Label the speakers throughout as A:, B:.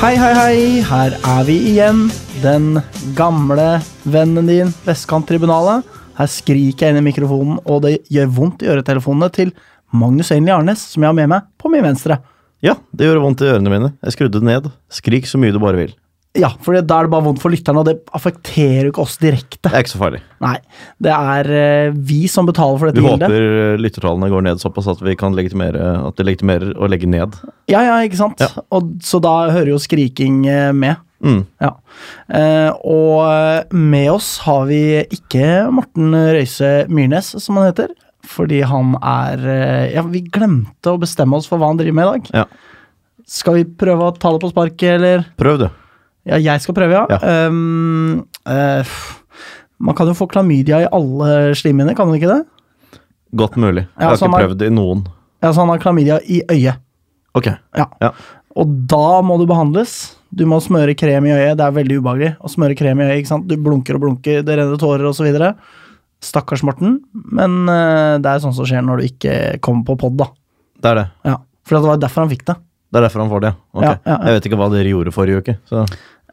A: Hei, hei, hei. Her er vi igjen. Den gamle vennen din, Vestkanttribunalet. Her skriker jeg inn i mikrofonen, og det gjør vondt i øretelefonene til Magnus Einli Arnes, som jeg har med meg på min venstre.
B: Ja, det gjorde vondt i ørene mine. Jeg skrudde det ned. Skrik så mye du bare vil.
A: Ja, for da er det bare vondt for lytterne, og det affekterer jo ikke oss direkte.
B: Det er ikke så farlig.
A: Nei, det er eh, vi som betaler for
B: Vi
A: dette
B: håper eh, lyttertallene går ned såpass at vi kan legitimere at de legitimerer å legge ned.
A: Ja, ja, ikke sant?
B: Ja.
A: Og, så da hører jo skriking eh, med.
B: Mm.
A: Ja. Eh, og eh, med oss har vi ikke Morten Røise Myrnes, som han heter. Fordi han er eh, Ja, vi glemte å bestemme oss for hva han driver med i dag.
B: Ja.
A: Skal vi prøve å ta det på sparket, eller?
B: Prøv, du.
A: Ja, jeg skal prøve, ja.
B: Ja.
A: Um, eh, pff. man kan jo få klamydia i alle slimhinner, kan man ikke det?
B: Godt mulig. Jeg
A: Ja,
B: har ikke
A: sånn er-
B: prøvd i noen.
A: Ja, så Altså, han har klamydia i øyet.
B: Ok.
A: Ja.
B: Ja.
A: Og da må du behandles. Du må smøre krem i øyet. Det er veldig ubehagelig å smøre krem i øyet. ikke sant? Du blunker og blunker, det renner tårer osv. Stakkars Morten. Men eh, det er sånt som skjer når du ikke kommer på pod, da.
B: Det er det.
A: Ja. For det var derfor han fikk det.
B: Det er derfor han får det, ja. Ok.
A: Ja, ja, ja.
B: Jeg vet ikke hva dere gjorde forrige uke. Så.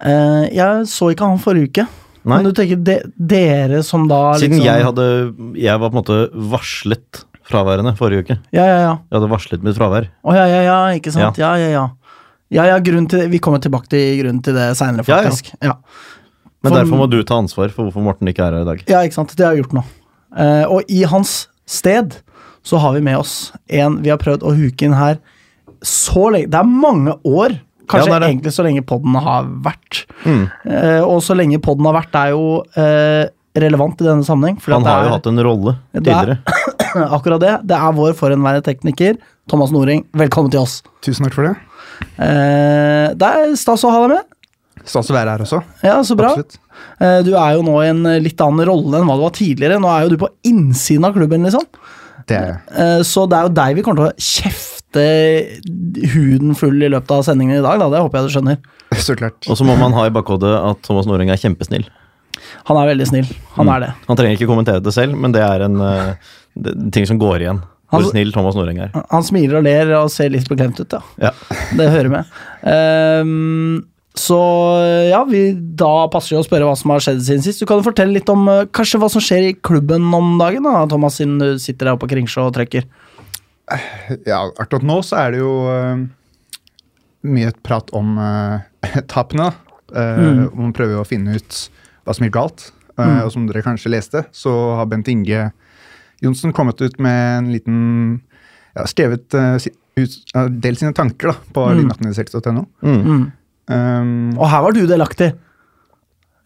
A: Eh, jeg så ikke han forrige uke.
B: Nei.
A: Men du tenker de, dere som da
B: Siden
A: liksom-
B: jeg hadde Jeg var på en måte varslet fraværende forrige uke.
A: Ja, ja, ja.
B: Jeg hadde varslet mitt fravær.
A: Å ja, ja, ja, ikke sant. Ja, ja, ja. Ja, ja, grunnen til det. Vi kommer tilbake til grunnen til det seinere,
B: Ja, ja.
A: faktisk. Ja, ja.
B: Men
A: For-
B: derfor må du ta ansvar for hvorfor Morten ikke er her i dag.
A: Ja, ikke sant. Det har jeg gjort nå. Eh, og i hans sted så har vi med oss en vi har prøvd å huke inn her så lenge Det er mange år. Kanskje
B: Ja, det er det.
A: egentlig så lenge podden har vært.
B: Mm.
A: Eh, og så lenge podden har vært, det er jo eh, relevant i denne sammenheng. fordi
B: Han
A: at det
B: har jo
A: er-
B: hatt en rolle
A: Ja, det er-
B: tidligere.
A: Akkurat det. Det er vår forhenværende tekniker, Thomas Noring. Velkommen til oss.
C: Tusen takk for det.
A: Eh, det er stas å ha deg med.
C: Stas å være her også.
A: Ja, så bra.
C: Absolutt.
A: Eh, Du er jo nå i en eh, litt annen rolle enn hva du var tidligere. Nå er jo du på innsiden av klubben, liksom.
C: Det er jeg.
A: Eh, Så det er jo deg vi kommer til å kjefte huden full i løpet av sendingen i dag, da. Det håper jeg du skjønner.
C: så klart.
B: Og så må man ha i bakhodet at Thomas Noreng er kjempesnill.
A: Han er veldig snill.
C: Mm.
A: Han er det.
B: Han trenger ikke kommentere det selv, men det er en eh, det, ting som går igjen. Hvor
A: Altså-
B: snill Thomas Noreng er.
A: Han smiler og ler og ser litt beklemt ut, ja.
B: Ja.
A: Det hører med. Ehm, så ja, vi, da passer det å spørre hva som har skjedd siden sist. Du kan jo fortelle litt om eh, kanskje hva som skjer i klubben om dagen, da, Thomas, siden du sitter der oppe på Kringsjå og trekker.
C: Ja, akkurat nå så er det jo eh, mye prat om eh, tapene. da. Eh,
A: Mm.
C: og Man prøver jo å finne ut hva som gikk galt. Eh,
A: Mm.
C: Og som dere kanskje leste, så har Bent Inge Johnsen kommet ut med en liten ja, Skrevet eh, si- ut, ja, delt sine tanker da, på
A: Mm.
C: linattendisert.no.
B: Mm.
A: Mm.
C: Um,
A: Og her var du delaktig.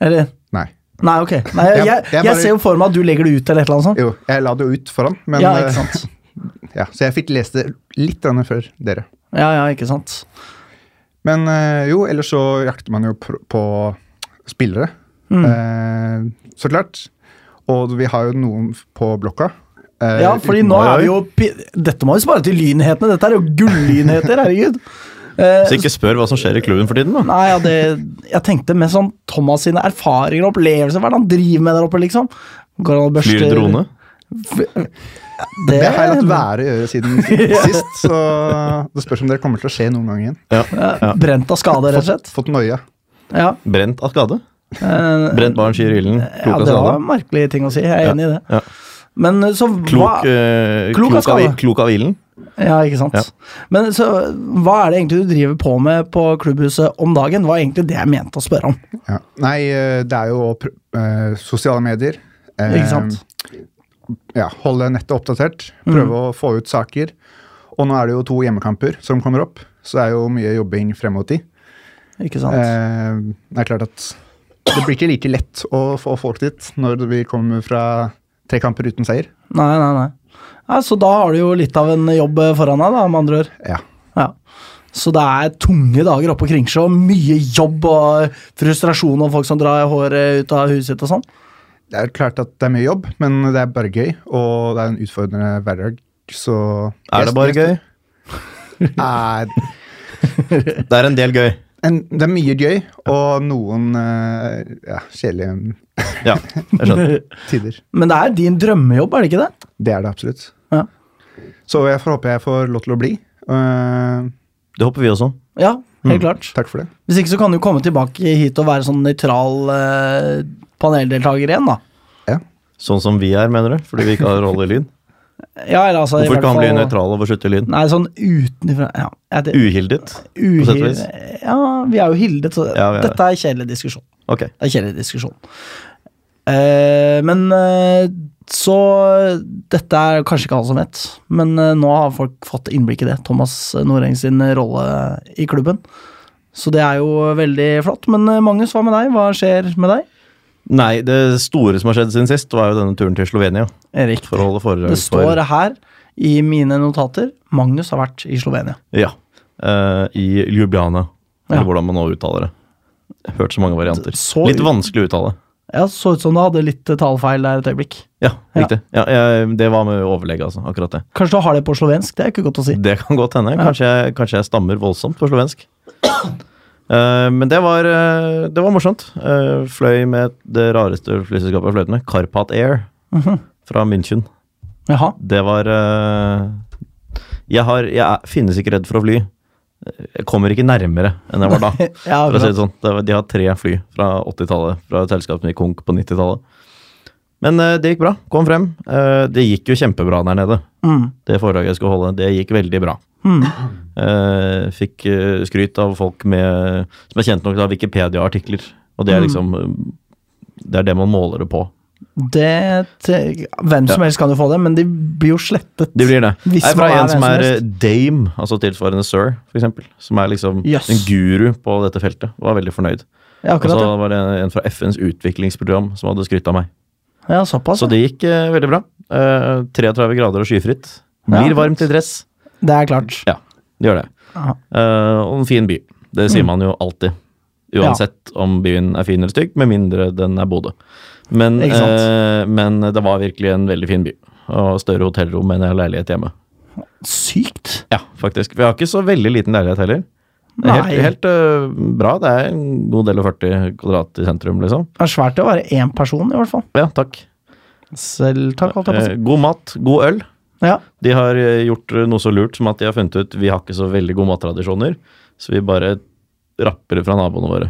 A: Eller?
C: Nei.
A: Nei, ok. Nei, jeg,
C: Jeg-
A: jeg,
C: jeg bare-
A: ser jo for meg at du legger det ut eller et eller annet sånt.
C: Jo, jeg la det jo ut foran, men
A: Ja, ikke
C: eh,
A: sant.
C: ja, Så jeg fikk lest det litt grann før dere.
A: Ja, ja, ikke sant.
C: Men eh, jo, ellers så jakter man jo pr- på spillere,
A: Mm.
C: eh, så klart. Og vi har jo noen f- på blokka. eh,
A: Ja, fordi
C: uten-
A: nå er vi jo pi- Dette må vi spare til lynhetene. Dette er jo gullynheter, herregud. Eh,
B: Så ikke spør hva som skjer i klubben for tiden, da.
A: nei, ja, det, jeg tenkte med sånn Thomas sine erfaringer og opplevelser. Hva er det han driver med der oppe, liksom? Går han og børster
B: Flyr drone.
A: Det,
C: Det har jeg latt være å gjøre siden sist, så det spørs om det kommer til å skje noen gang igjen.
A: eh,
B: Ja.
A: Ja, Brent av skade, rett og slett.
C: Fått noia.
A: Ja,
B: Brent av skade.
A: eh,
B: Brent barn skyr ilden.
A: ja,
B: Klok av
A: det var
B: skade.
A: en merkelig ting å si. Jeg er enig i det.
B: Ja.
A: Men eh, så hva
B: Klok, eh,
A: Klok
B: klok,
A: av
B: av,
A: skade.
B: i- klok av ilden.
A: Ja, ikke sant.
B: Ja.
A: Men så, hva er det egentlig du driver på med på klubbhuset om dagen? Hva er egentlig det jeg mente å spørre om?
C: Ja. Nei, eh, det er jo å pr eh, sosiale medier. eh,
A: Ikke sant? Mm.
C: ja, holde nettet oppdatert, prøve å få ut saker. Og nå er det jo to hjemmekamper som kommer opp, så det er jo mye jobbing frem mot de.
A: Ikke sant?
C: Eh, det er klart at det blir ikke like lett å få folk dit når vi kommer fra tre kamper uten seier.
A: Nei, nei, nei. Ja, så da har du jo litt av en jobb eh, foran deg, da, med andre ord.
C: Ja.
A: Ja. Så det er tunge dager oppe på Kringsjå. Mye jobb og eh, frustrasjon og folk som drar håret ut av huset sitt og sånn.
C: Det er klart at det er mye jobb, men det er bare gøy, og det er en utfordrende hverdag. Så
B: Er det bare gøy?
C: Nei,
B: Det er en del gøy.
C: en, det er mye gøy, og noen eh, ja, kjedelige
B: Ja, jeg skjønner.
C: tider.
A: Men det er din drømmejobb, er det ikke det?
C: Det er det absolutt.
A: Ja.
C: Så jeg får håpe jeg får lov til å bli. Eh,
B: Det håper vi også.
A: ja.
B: Mm.
A: Helt klart.
C: Takk for det.
A: Hvis ikke så kan du komme tilbake hit og være sånn nøytral eh, paneldeltaker igjen, da.
B: Sånn som vi er, mener du? Fordi vi ikke har rolle i lyn?
A: Ja, eller altså, i
B: Hvorfor
A: hvert
B: ikke han bli
A: fall-
B: nøytral og beskytte lyn?
A: Nei, sånn utenfra ja, jeg vet-
B: Uhildet?
A: uhi-
B: på sett og vis.
A: Ja, vi er jo hildet, så
B: Ja, vi er det.
A: dette er kjedelig diskusjon.
B: Ok.
A: Det er kjedelig diskusjon. Eh, men eh, så Dette er kanskje ikke alle som vet, men eh, nå har folk fått innblikk i det. Thomas Noreng sin rolle i klubben. Så det er jo veldig flott. Men eh, Magnus, hva med deg? Hva skjer med deg?
B: Nei, det store som har skjedd siden sist, var jo denne turen til Slovenia.
A: Erik,
B: For å holde foredrag
A: det står her i mine notater Magnus har vært i Slovenia.
B: for Ja. eh, I Ljubljana. Eller
A: Ja.
B: hvordan man nå uttaler det. Jeg har Hørt så mange varianter.
A: Så-
B: Litt vanskelig å uttale.
A: Ja, Så ut som du hadde litt eh, talefeil der et øyeblikk.
B: Ja, riktig. Ja, jeg, det var med overlegg, altså. Akkurat det.
A: Kanskje du har det på slovensk, det er ikke godt å si.
B: Det kan godt hende. Kanskje, jeg- kanskje jeg stammer voldsomt på slovensk. Eh, men det var, eh, det var morsomt. Eh, fløy med det rareste flyselskapet jeg fløy med, Carpat Air,
A: Mhm.
B: fra München.
A: Jaha.
B: Det var eh, Jeg, har, jeg er, finnes ikke redd for å fly. Jeg kommer ikke nærmere enn jeg var da.
A: Ja,
B: For å si det
A: bra.
B: sånn. Det var- De har tre fly fra 80-tallet, fra et selskap som gikk konk på 90-tallet. Men eh, det gikk bra. Kom frem. Eh, det gikk jo kjempebra der nede
A: Mm.
B: det foredraget jeg skulle holde, det gikk veldig bra.
A: Mm.
B: Eh, fikk eh, skryt av folk med, som er kjent nok til å ha Wikipedia-artikler. Og det er
A: Mm.
B: liksom eh, Det er det man måler det på.
A: Det te- Hvem som helst kan jo få det, men de blir jo slettet.
B: Det blir det.
A: Hvis
B: Jeg er fra
A: man er
B: en som
A: hvem
B: er
A: som
B: eh, dame, altså tilsvarende sir, for eksempel, som er liksom
A: Yes.
B: en guru på dette feltet, og var veldig fornøyd.
A: Ja,
B: Og så
A: akkurat. ja.
B: var det en fra FNs utviklingsprogram som hadde skrytt av meg.
A: ja, såpass.
B: Så
A: ja.
B: det gikk eh, veldig bra. Eh, 33 grader og skyfritt.
A: Ja,
B: Blir
A: akkurat.
B: varmt i dress.
A: Det er klart.
B: Ja, det gjør det.
A: Ja.
B: Eh, og en fin by. Det
A: Mm.
B: sier man jo alltid. Uansett om byen er fin eller stygg, med mindre den er Bodø. Men,
A: Ikke sant?
B: eh, men det var virkelig en veldig fin by. Og større hotellrom enn jeg har leilighet hjemme.
A: Sykt.
B: Ja, faktisk. Vi har ikke så veldig liten leilighet heller. Det er
A: Nei.
B: Helt, helt eh, bra. Det er en god del og 40 kvadrat i sentrum, liksom.
A: Det er svært å være én person, i hvert fall.
B: Ja, takk.
A: Selv takk, holdt jeg på å si.
B: Eh, god mat, god øl.
A: Ja.
B: De har eh, gjort eh, noe så lurt som at de har funnet ut vi har ikke så veldig gode mattradisjoner, så vi bare rapper det fra naboene våre.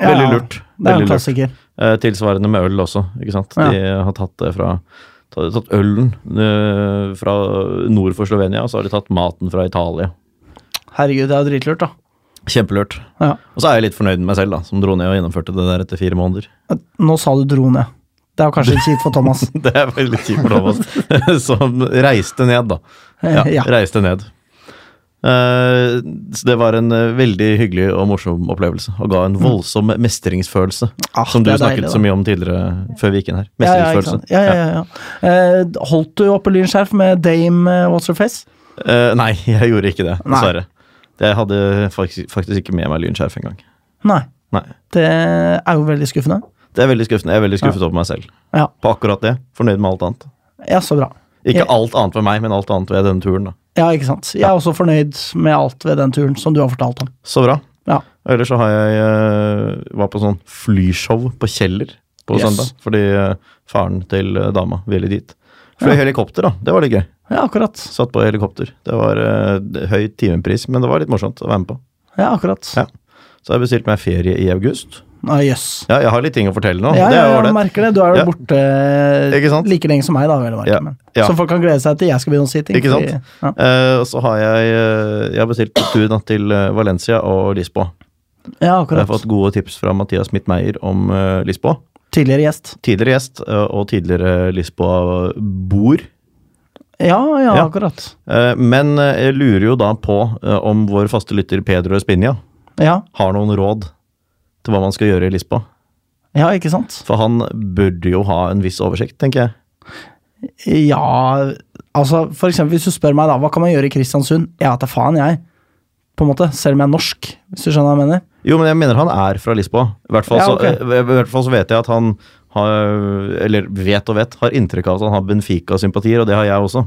A: Ja,
B: Veldig
A: ja.
B: lurt.
A: Det er jo
B: Veldig
A: en
B: lurt.
A: klassiker.
B: Eh, tilsvarende med øl også, ikke sant. De har tatt det fra tatt, tatt ølen eh, fra nord for Slovenia, og så har de tatt maten fra Italia.
A: Herregud, det er jo dritlurt, da.
B: Kjempelurt.
A: Ja.
B: Og så er jeg litt fornøyd med meg selv, da, som dro ned og gjennomførte det der etter fire måneder.
A: Nå sa du dro ned. Det er jo kanskje litt kjipt for Thomas.
B: Det er veldig kjipt for Thomas, som reiste ned, da. Ja,
A: Ja.
B: reiste ned. Eh, så det var en eh, veldig hyggelig og morsom opplevelse, og ga en voldsom mestringsfølelse.
A: Ah,
B: som
A: Mm.
B: du
A: det er
B: snakket
A: deilig, da.
B: så mye om tidligere, før vi gikk inn her.
A: Ja, ja, ikke
B: Mestringsfølelse.
A: sant. ja, ja, ja, ja. Eh, holdt du oppe lynskjerf med Dame eh, What's Her Face?
B: Eh, nei, jeg gjorde ikke det,
A: Nei.
B: dessverre. Jeg hadde faktisk, faktisk ikke med meg lynskjerf engang.
A: Nei.
B: Nei.
A: Det er jo veldig skuffende.
B: Det er veldig skuffende. Jeg er veldig skuffet over meg selv.
A: Ja.
B: På akkurat det. Fornøyd med alt annet.
A: Ja, så bra.
B: Ikke
A: Jeg-
B: alt annet ved meg, men alt annet ved denne turen. Da.
A: Ja, ikke sant. Jeg er også fornøyd med alt ved den turen som du har fortalt om.
B: Så bra.
A: Ja.
B: Ellers så har jeg eh, var på sånn flyshow på Kjeller på
A: Yes.
B: søndag. Fordi eh, faren til eh, dama ville dit. Fløy
A: Ja.
B: helikopter, da. Det var litt gøy.
A: Ja, akkurat.
B: Satt på helikopter. Det var eh, d- høy timepris, men det var litt morsomt å være med på.
A: Ja, akkurat.
B: Ja. Så har jeg bestilt meg ferie i august.
A: Ah, Jøss.
B: Ja, jeg har litt ting å fortelle nå.
A: Ja,
B: det
A: ja,
B: er jo
A: ja, jeg
B: ålreit.
A: merker det. Du er jo
B: Ja.
A: borte eh,
B: Ikke sant?
A: like lenge som meg, da. Vel, å merke,
B: Ja,
A: men.
B: ja.
A: Så folk kan glede seg til jeg skal begynne å si ting.
B: Ikke sant?
A: fordi- Ja.
B: Eh, og så har jeg, eh, jeg har bestilt en tur da, til eh, Valencia og Lisboa.
A: ja,
B: Jeg har
A: akkurat.
B: fått gode tips fra Mathias Mittmeier om eh, Lisboa.
A: Tidligere gjest.
B: Tidligere gjest eh, og tidligere Lisboa-boer.
A: Ja, ja,
B: Ja.
A: akkurat.
B: Eh, men eh, jeg lurer jo da på eh, om vår faste lytter Pedro Espinia
A: Ja,
B: har noen råd til hva man skal gjøre i Lisboa.
A: ja, ikke sant?
B: For han burde jo ha en viss oversikt, tenker jeg.
A: Ja, altså for eksempel hvis du spør meg da, hva kan man gjøre i Kristiansund? Jeg vet da faen, jeg. På en måte. Selv om jeg er norsk, hvis du skjønner hva jeg mener.
B: Jo, men jeg mener han er fra Lisboa. I hvert fall,
A: Ja, ok.
B: så, eh, i hvert fall så vet jeg at han har, eller vet og vet, har inntrykk av at han har Benfica-sympatier, og det har jeg også.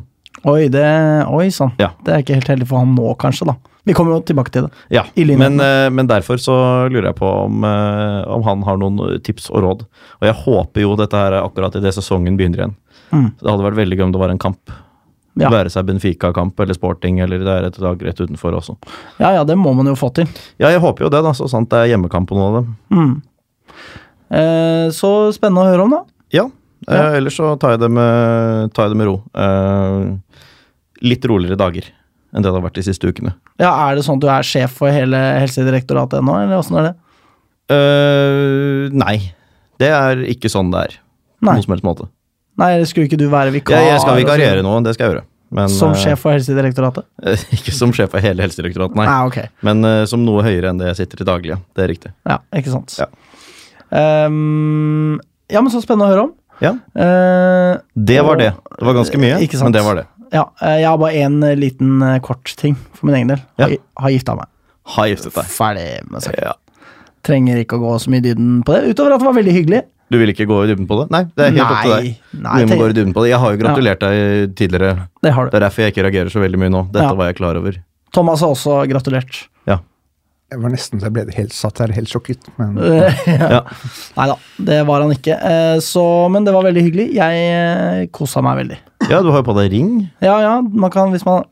A: Oi, det, oi sann.
B: Ja.
A: Det er ikke helt heldig for han nå, kanskje. da. Vi kommer jo tilbake til det.
B: Ja,
A: I linjen.
B: men, eh, men derfor så lurer jeg på om, eh, om han har noen tips og råd. Og jeg håper jo dette her er akkurat idet sesongen begynner igjen.
A: Mm.
B: Så Det hadde vært veldig gøy om det var en kamp.
A: Ja.
B: Være seg Benfica-kamp eller sporting, eller det er et lag rett utenfor også.
A: Ja ja, det må man jo få til.
B: Ja, jeg håper jo det, da, så sant det er hjemmekamp på noen av dem.
A: Mm. Eh, så spennende å høre om, da.
B: Ja. eh,
A: Ja.
B: ellers så tar jeg det med, tar jeg det med ro. Eh, litt roligere dager enn det det har vært de siste ukene.
A: Ja, Er det sånn at du er sjef for hele Helsedirektoratet ennå, eller åssen er det?
B: Eh, nei. Det er ikke sånn det er. På
A: Nei.
B: noen som helst måte.
A: Nei, skulle ikke du være vikar?
B: Jeg, jeg skal
A: og så-
B: vikariere nå, det skal jeg gjøre. Men,
A: Som
B: eh,
A: sjef for Helsedirektoratet?
B: ikke som sjef for hele Helsedirektoratet, nei.
A: Ah, ok.
B: Men eh, som noe høyere enn det jeg sitter i daglig. ja. Det er riktig.
A: Ja, ikke sant.
B: Ja.
A: Ehm, ja, men så spennende å høre om.
B: Ja,
A: Eh,
B: Det var det. Det var ganske mye,
A: Ikke sant.
B: men det var det.
A: ja, eh, jeg har bare én eh, liten eh, kort ting for min egen del.
B: Ja.
A: Har, har gifta meg.
B: Har giftet deg.
A: Ferdig med saken.
B: Ja.
A: Trenger ikke å gå så mye i dybden på det, utover at det var veldig hyggelig.
B: Du vil ikke gå i dybden på det? Nei, det er helt opp til deg.
A: Nei,
B: Vi må
A: tenk-
B: gå i dybden på det. Jeg har jo gratulert deg tidligere.
A: det har du.
B: Det er derfor jeg ikke reagerer så veldig mye nå. Dette
A: Ja.
B: var jeg klar over.
A: Thomas har også gratulert.
B: Ja.
C: Jeg var nesten så jeg ble helt satt her, helt sjokket. Men
B: Ja.
A: Nei da, det var han ikke. Eh, Så, men det var veldig hyggelig. Jeg eh, kosa meg veldig.
B: ja, du har jo på deg ring.
A: Ja ja, man kan hvis man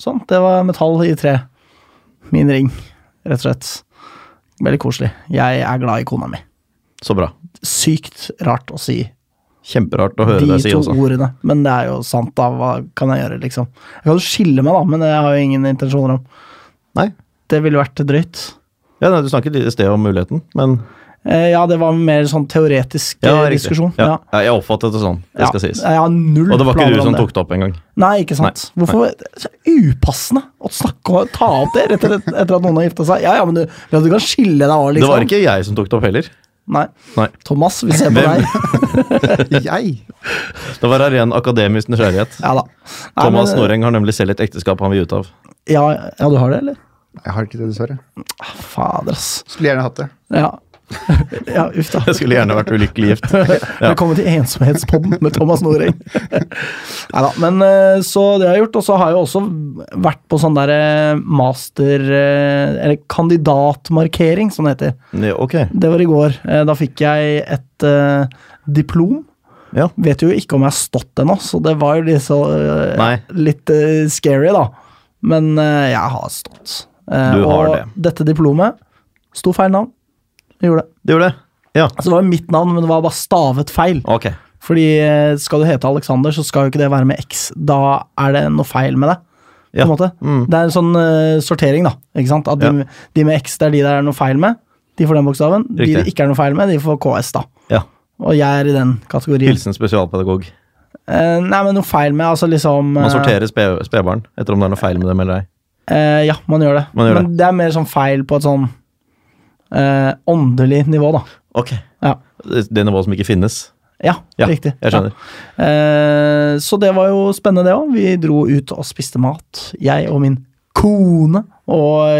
A: Sånn, det var metall i tre. Min ring, rett og slett. Veldig koselig. Jeg er glad i kona mi.
B: Så bra.
A: Sykt rart å si
B: Kjemperart å høre
A: de
B: deg si
A: to
B: også.
A: ordene, men det er jo sant, da. Hva kan jeg gjøre, liksom? Jeg kan jo skille meg, da, men det har jeg jo ingen intensjoner om.
B: Nei.
A: Det ville vært drøyt.
B: Ja, nei, Du snakket litt i sted om muligheten, men
A: Eh, Ja, det var mer sånn teoretisk
B: ja,
A: eh,
B: riktig.
A: diskusjon.
B: Ja. Ja, jeg oppfattet det sånn. Det skal
A: ja.
B: sies.
A: Jeg har null
B: Og det var ikke
A: planer
B: du
A: om
B: som
A: det.
B: tok det opp engang.
A: Nei, ikke sant. Hvorfor så Upassende å snakke og ta opp det rett etter, etter at noen har gifta seg. Ja, ja, men du, ja, du kan skille deg òg,
B: Det
A: liksom.
B: var ikke jeg som tok det opp heller.
A: Nei.
B: Nei.
A: Thomas, vi ser på
B: Hvem?
A: deg.
C: jeg
B: Det var av ren akademisk nysgjerrighet.
A: Ja da. Nei,
B: Thomas
A: men-
B: Noreng har nemlig selv et ekteskap han vil ut av.
A: Ja, ja, du har det, eller? Ah,
C: Jeg har ikke det, dessverre.
A: Fader, ass.
C: Skulle gjerne hatt det.
A: Ja. ja, uff da.
B: Jeg skulle gjerne vært ulykkelig gift.
A: Velkommen til ensomhetspodden med Thomas Noreng. Nei da, men eh, så det har jeg gjort. Og så har jeg også vært på sånn derre master eh, Eller kandidatmarkering, som det heter.
B: Ja, Ok.
A: Det var i går. Eh, Da fikk jeg et eh, diplom.
B: Ja.
A: Vet jo ikke om jeg har stått ennå, så det var jo litt, så, eh,
B: Nei.
A: litt eh, scary, da. Men eh, jeg har stått. Eh,
B: Du har
A: og dette diplomet sto feil navn. Jeg gjorde det.
B: Du gjorde det? Ja.
A: Altså, det var jo mitt navn, men det var bare stavet feil.
B: Ok.
A: Fordi eh, skal du hete Alexander, så skal jo ikke det være med X. Da er det noe feil med det. På
B: Ja.
A: en måte.
B: Mm.
A: Det er en sånn eh, sortering, da. Ikke sant? At de, de med X, det er de det er noe feil med. De får den bokstaven. De
B: Riktig.
A: det ikke er noe feil med, de får KS, da.
B: Ja.
A: Og jeg er i den kategorien.
B: Hilsen spesialpedagog.
A: Eh, nei, men noe feil med, altså liksom eh,
B: Man sorterer spe- spedbarn etter om det er noe feil med dem eller ei.
A: eh, ja, man gjør det.
B: Man gjør
A: men det. er mer sånn feil på et sånn eh, åndelig nivå, da.
B: Ok.
A: Ja.
B: Det det nivået som ikke finnes.
A: Ja,
B: Ja,
A: riktig.
B: jeg skjønner.
A: Ja. Eh, så det var jo spennende, det òg. Vi dro ut og spiste mat. Jeg og min kone og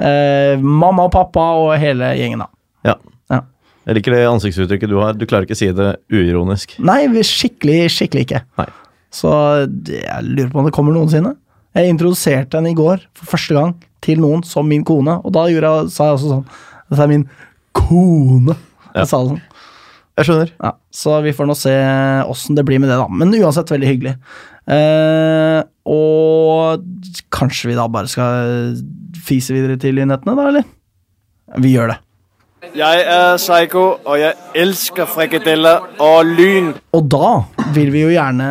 A: eh, mamma og pappa og hele gjengen, da.
B: Ja.
A: Ja.
B: Jeg liker det ansiktsuttrykket du har. Du klarer ikke å si det uironisk.
A: Nei, vi skikkelig, skikkelig ikke.
B: Nei.
A: Så det- jeg lurer på om det kommer noensinne. Jeg introduserte henne i går for første gang til noen som min kone, og da gjorde jeg, sa jeg også sånn Dette er min kone.
B: Ja.
A: Jeg sa det sånn.
B: Jeg skjønner.
A: Ja, så vi får nå se åssen det blir med det, da. Men uansett veldig hyggelig. Eh, og kanskje vi da bare skal fise videre til lynettene, da, eller? Vi gjør det.
D: Jeg er Psycho, og jeg elsker frikadeller og lyn.
A: Og da vil vi jo gjerne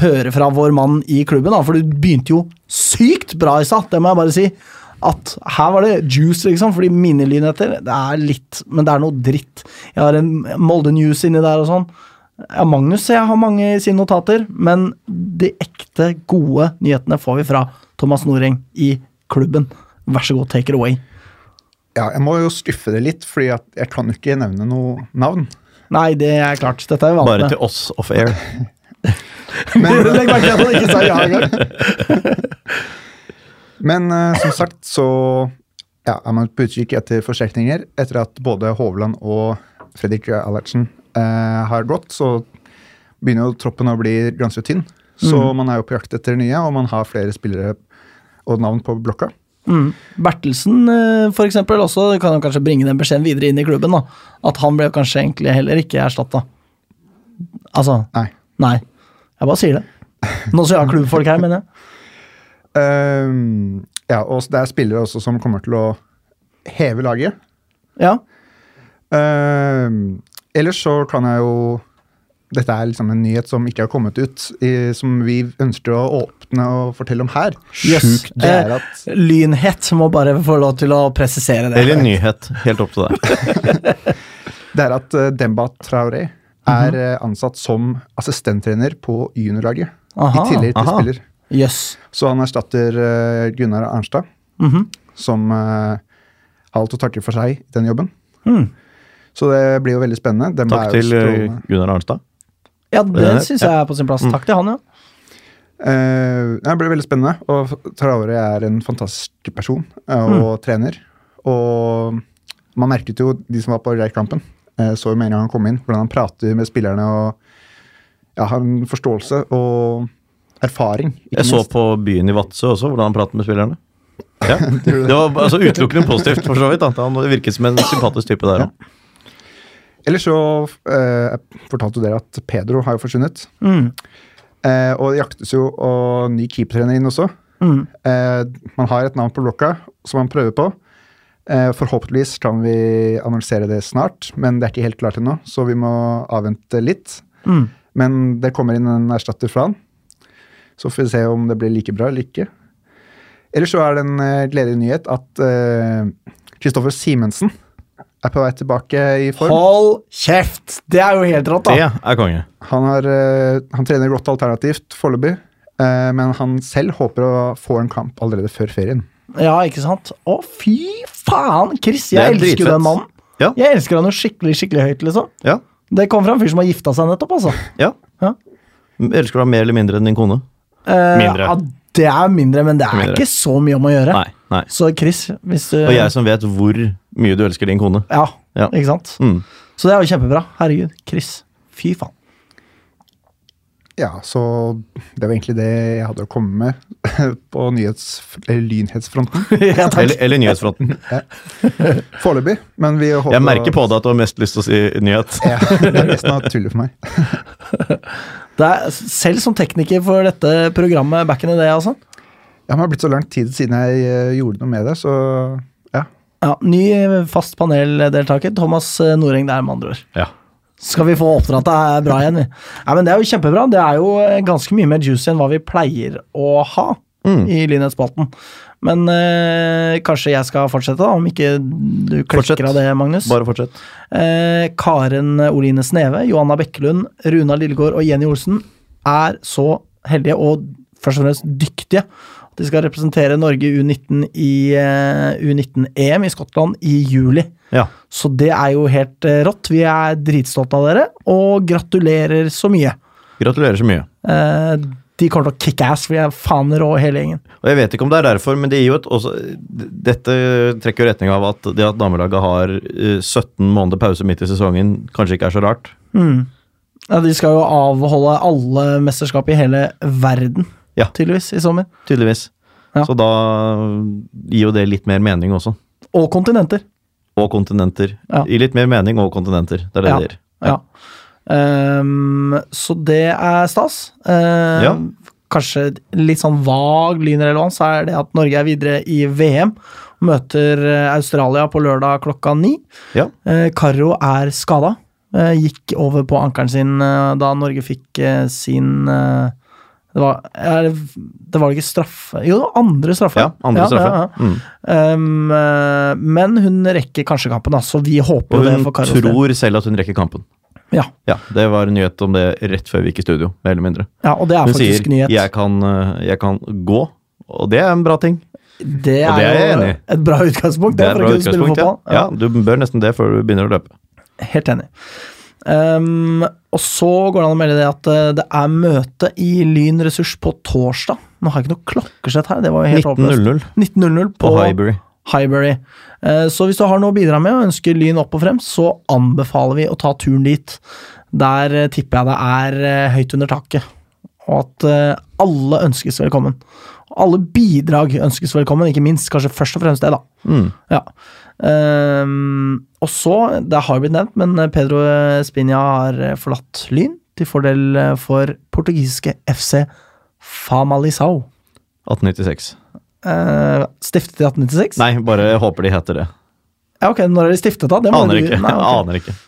A: høre fra vår mann i klubben, da, for du begynte jo sykt bra i stad, det må jeg bare si. At her var det juice, liksom, fordi mine lynheter Det er litt, men det er noe dritt. Jeg har en Molde News inni der og sånn. Ja, Magnus jeg har mange i sine notater, men de ekte, gode nyhetene får vi fra Thomas Noreng i klubben. Vær så god, take it away.
C: Ja, jeg må jo skuffe det litt, fordi at jeg kan jo ikke nevne noe navn.
A: Nei, det er klart. Dette er vi vant
B: Bare
A: med.
B: til oss off air.
C: Men, Legg merke til at han ikke sa ja engang. Men eh, som sagt så ja, er man på utkikk etter forsterkninger. Etter at både Hovland og Fredrik Allertsen eh, har gått, så begynner jo troppen å bli ganske tynn. Så man er jo på jakt etter nye, og man har flere spillere og navn på blokka.
A: Mm. Bertelsen eh, for eksempel også kan jo kanskje bringe den beskjeden videre inn i klubben. da At han ble kanskje egentlig heller ikke erstatta. Altså,
C: Nei.
A: nei. Jeg bare sier det. Nå så jeg har klubbfolk her, mener jeg.
C: Ehm, ja, og det er spillere også som kommer til å heve laget.
A: Ja.
C: Ehm, ellers så kan jeg jo Dette er liksom en nyhet som ikke har kommet ut, i, som vi ønsker å åpne og fortelle om her.
A: Yes.
C: Sjukt det er at
A: Eh, Lynhet må bare få lov til å presisere det.
B: Eller nyhet. Helt opp til deg.
C: Det er at eh, Demba Traoré
B: Mhm.
C: er eh, ansatt som assistenttrener på juniorlaget. I
A: Aha.
C: tillegg til
B: aha.
C: spiller.
A: Jøss.
C: Så han erstatter eh, Gunnar Arnstad,
A: Mhm.
C: som eh, har alt å takke for seg i den jobben.
A: Mhm.
C: Så det blir jo veldig spennende. Demba
B: Takk
C: er jo
B: til eh,
C: strålende.
B: Gunnar Arnstad.
A: Ja, det
B: Eh,
A: syns jeg er på sin plass.
C: mm.
A: Takk til han, ja.
C: Eh, det blir veldig spennende. Og Traore er en fantastisk person eh, og
B: Mm.
C: trener. Og man merket jo de som var på Reir-kampen, eh, så jo med en gang han kom inn, hvordan han prater med spillerne og ja, har en forståelse og erfaring.
B: Jeg så på Byen i Vadsø også, hvordan han pratet med spillerne. Ja. Det var altså utelukkende positivt, for så vidt. Da. Han virket som en sympatisk type der òg.
C: Ellers så eh, fortalte jo dere at Pedro har jo forsvunnet.
A: Mm.
C: Eh, og det jaktes jo og ny keepertrener inn også.
A: Mm.
C: Eh, man har et navn på blokka som man prøver på. Eh, forhåpentligvis kan vi annonsere det snart, men det er ikke helt klart ennå, så vi må avvente litt.
A: Mm.
C: Men det kommer inn en erstatter fra han. Så får vi se om det blir like bra eller ikke. Ellers så er det en eh, gledelig nyhet at eh, Kristoffer Simensen er på vei tilbake i form.
A: Hold kjeft! Det er jo helt rått,
B: Det
A: da.
B: er konge.
C: Han, har, eh, han trener godt alternativt foreløpig, eh, men han selv håper å få en kamp allerede før ferien.
A: Ja, ikke sant? Å, fy faen! Chris,
B: Det er
A: jeg elsker jo
B: dritfett.
A: den mannen.
B: Ja.
A: Jeg elsker han jo skikkelig, skikkelig høyt, liksom.
B: Ja.
A: Det kom fra en fyr som har gifta seg nettopp, altså.
B: ja.
A: Ja.
B: Elsker du ham mer eller mindre enn din kone?
A: Eh,
B: Mindre.
A: Ja, det er mindre, men det er
B: Mindre.
A: ikke så mye om å gjøre.
B: Nei. nei.
A: Så Chris, hvis du
B: Og jeg som vet hvor mye du elsker din kone.
A: ja,
B: Ja.
A: ikke sant?
B: Mm.
A: Så det er jo kjempebra. Herregud, Chris. Fy faen.
C: Ja, så det var egentlig det jeg hadde å komme med på nyhets- eller lynhetsfronten
A: ja, takk.
B: Eller, eller nyhetsfronten.
C: foreløpig. Men vi håper
B: Jeg merker på deg at du har mest lyst til å si nyhet.
C: Ja, det er nesten naturlig for meg.
A: Det er, selv som tekniker for dette programmet back in the day, altså.
C: Ja, men Det har blitt så lang tid siden jeg eh, gjorde noe med det, så ja.
A: Ja, ny fast paneldeltaker. Thomas Noreng der, med andre ord.
B: Ja.
A: Skal vi få oppdrattet bra igjen, vi. Nei, men det er jo kjempebra. Det er jo eh, ganske mye mer juicy enn hva vi pleier å ha
B: Mm.
A: i Lynhetsspalten. Men eh, kanskje jeg skal fortsette, da, om ikke du
B: Fortsett.
A: klikker av det, Magnus.
B: Bare fortsett.
A: Eh, Karen Oline Sneve, Johanna Bekkelund, Runa Lillegård og Jenny Olsen er så heldige og først og fremst dyktige at de skal representere Norge i U19 i eh, U19-EM i Skottland i juli.
B: Ja.
A: Så det er jo helt eh, rått. Vi er dritstolte av dere, og gratulerer så mye.
B: Gratulerer så mye.
A: Eh, de kommer til å kicke ass, for vi er faen rå hele gjengen.
B: Og jeg vet ikke om det er derfor, men det gir jo et også, Dette trekker jo i retning av at det at damelaget har eh, 17 måneder pause midt i sesongen, kanskje ikke er så rart.
A: Mm. Ja, de skal jo avholde alle mesterskap i hele verden,
B: Ja.
A: tydeligvis, i sommer.
B: Tydeligvis.
A: Ja.
B: Så da gir jo det litt mer mening også.
A: Og kontinenter.
B: Og kontinenter.
A: Ja.
B: Gir litt mer mening og kontinenter. Det er det
A: Ja.
B: det gir.
A: Ja. Ehm, så det er stas. Ehm,
B: Ja.
A: Kanskje litt sånn vag lynrelevans er det at Norge er videre i VM. Møter eh, Australia på lørdag klokka ni.
B: Ja.
A: Eh, Carro er skada. Eh, gikk over på ankelen sin eh, da Norge fikk eh, sin eh, det var, er, det var ikke straffe Jo, det var andre straffe.
B: ja andre straffe.
A: ja, ja.
B: Mm.
A: Ehm, eh, men hun rekker kanskje kampen, da, så vi håper jo
B: Og
A: det
B: hun
A: for Carros del.
B: tror selv at hun rekker kampen.
A: Ja,
B: Ja, Det var en nyhet om det rett før vi gikk i studio. mer eller mindre.
A: ja, og det er
B: Hun
A: faktisk
B: sier
A: nyhet.
B: jeg kan, eh, 'jeg kan gå', og det er en bra ting.
A: Det er,
B: Og det er jeg
A: jo
B: enig i.
A: et bra utgangspunkt.
B: Det er et
A: for å
B: bra
A: kunne spille
B: utgangspunkt. Ja.
A: fotball.
B: ja, Du bør nesten det før du begynner å løpe.
A: Helt enig. Ehm, og så går det an å melde det at eh, det er møte i Lyn Ressurs på torsdag. Nå har jeg ikke noe klokkeslett her. det var jo helt håpløst.
B: 19.00
A: 19.00
B: på
A: på
B: Highbury.
A: Highbury. Eh, Så hvis du har noe å bidra med og ønsker Lyn opp og frem, så anbefaler vi å ta turen dit. Der eh, tipper jeg det er eh, høyt under taket, og at eh, alle ønskes velkommen. Og Alle bidrag ønskes velkommen, ikke minst. Kanskje først og fremst det, da.
B: Mm.
A: Ja. Ehm, og så, det har blitt nevnt, men Pedro Spinia har eh, forlatt Lyn til fordel eh, for eh, portugisiske FC Famalisau.
B: 1896.
A: Eh, stiftet i 1896?
B: Nei, bare håper de heter det.
A: Ja, ok, Når er de stiftet, da? Det må du-
B: Aner ikke.
A: Nei, ok.
B: Aner ikke.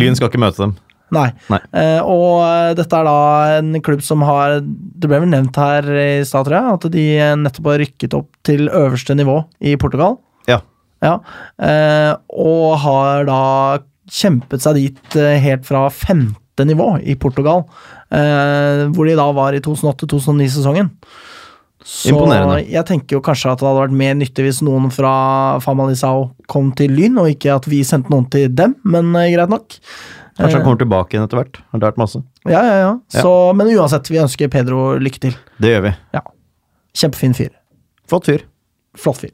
B: Lyn skal ikke møte dem.
A: Nei.
B: Nei.
A: Eh, og eh, dette er da en klubb som har Det ble vel nevnt her i stad, tror jeg, at de eh, nettopp har rykket opp til øverste nivå i Portugal.
B: Ja.
A: Ja. Eh, og har da kjempet seg dit eh, helt fra femte nivå i Portugal. Eh, hvor de da var i 2008-2009-sesongen. Så
B: Imponerende.
A: jeg tenker jo kanskje at det hadde vært mer nyttig hvis noen fra Famalisao kom til Lyn, og ikke at vi sendte noen til dem, men eh, greit nok.
B: Kanskje
A: Eh.
B: han kommer tilbake igjen etter hvert. Har lært masse.
A: Ja, ja, ja. Så, men uansett, vi ønsker Pedro lykke til.
B: Det gjør vi.
A: Ja. Kjempefin fyr.
B: Flott fyr.
A: Flott fyr.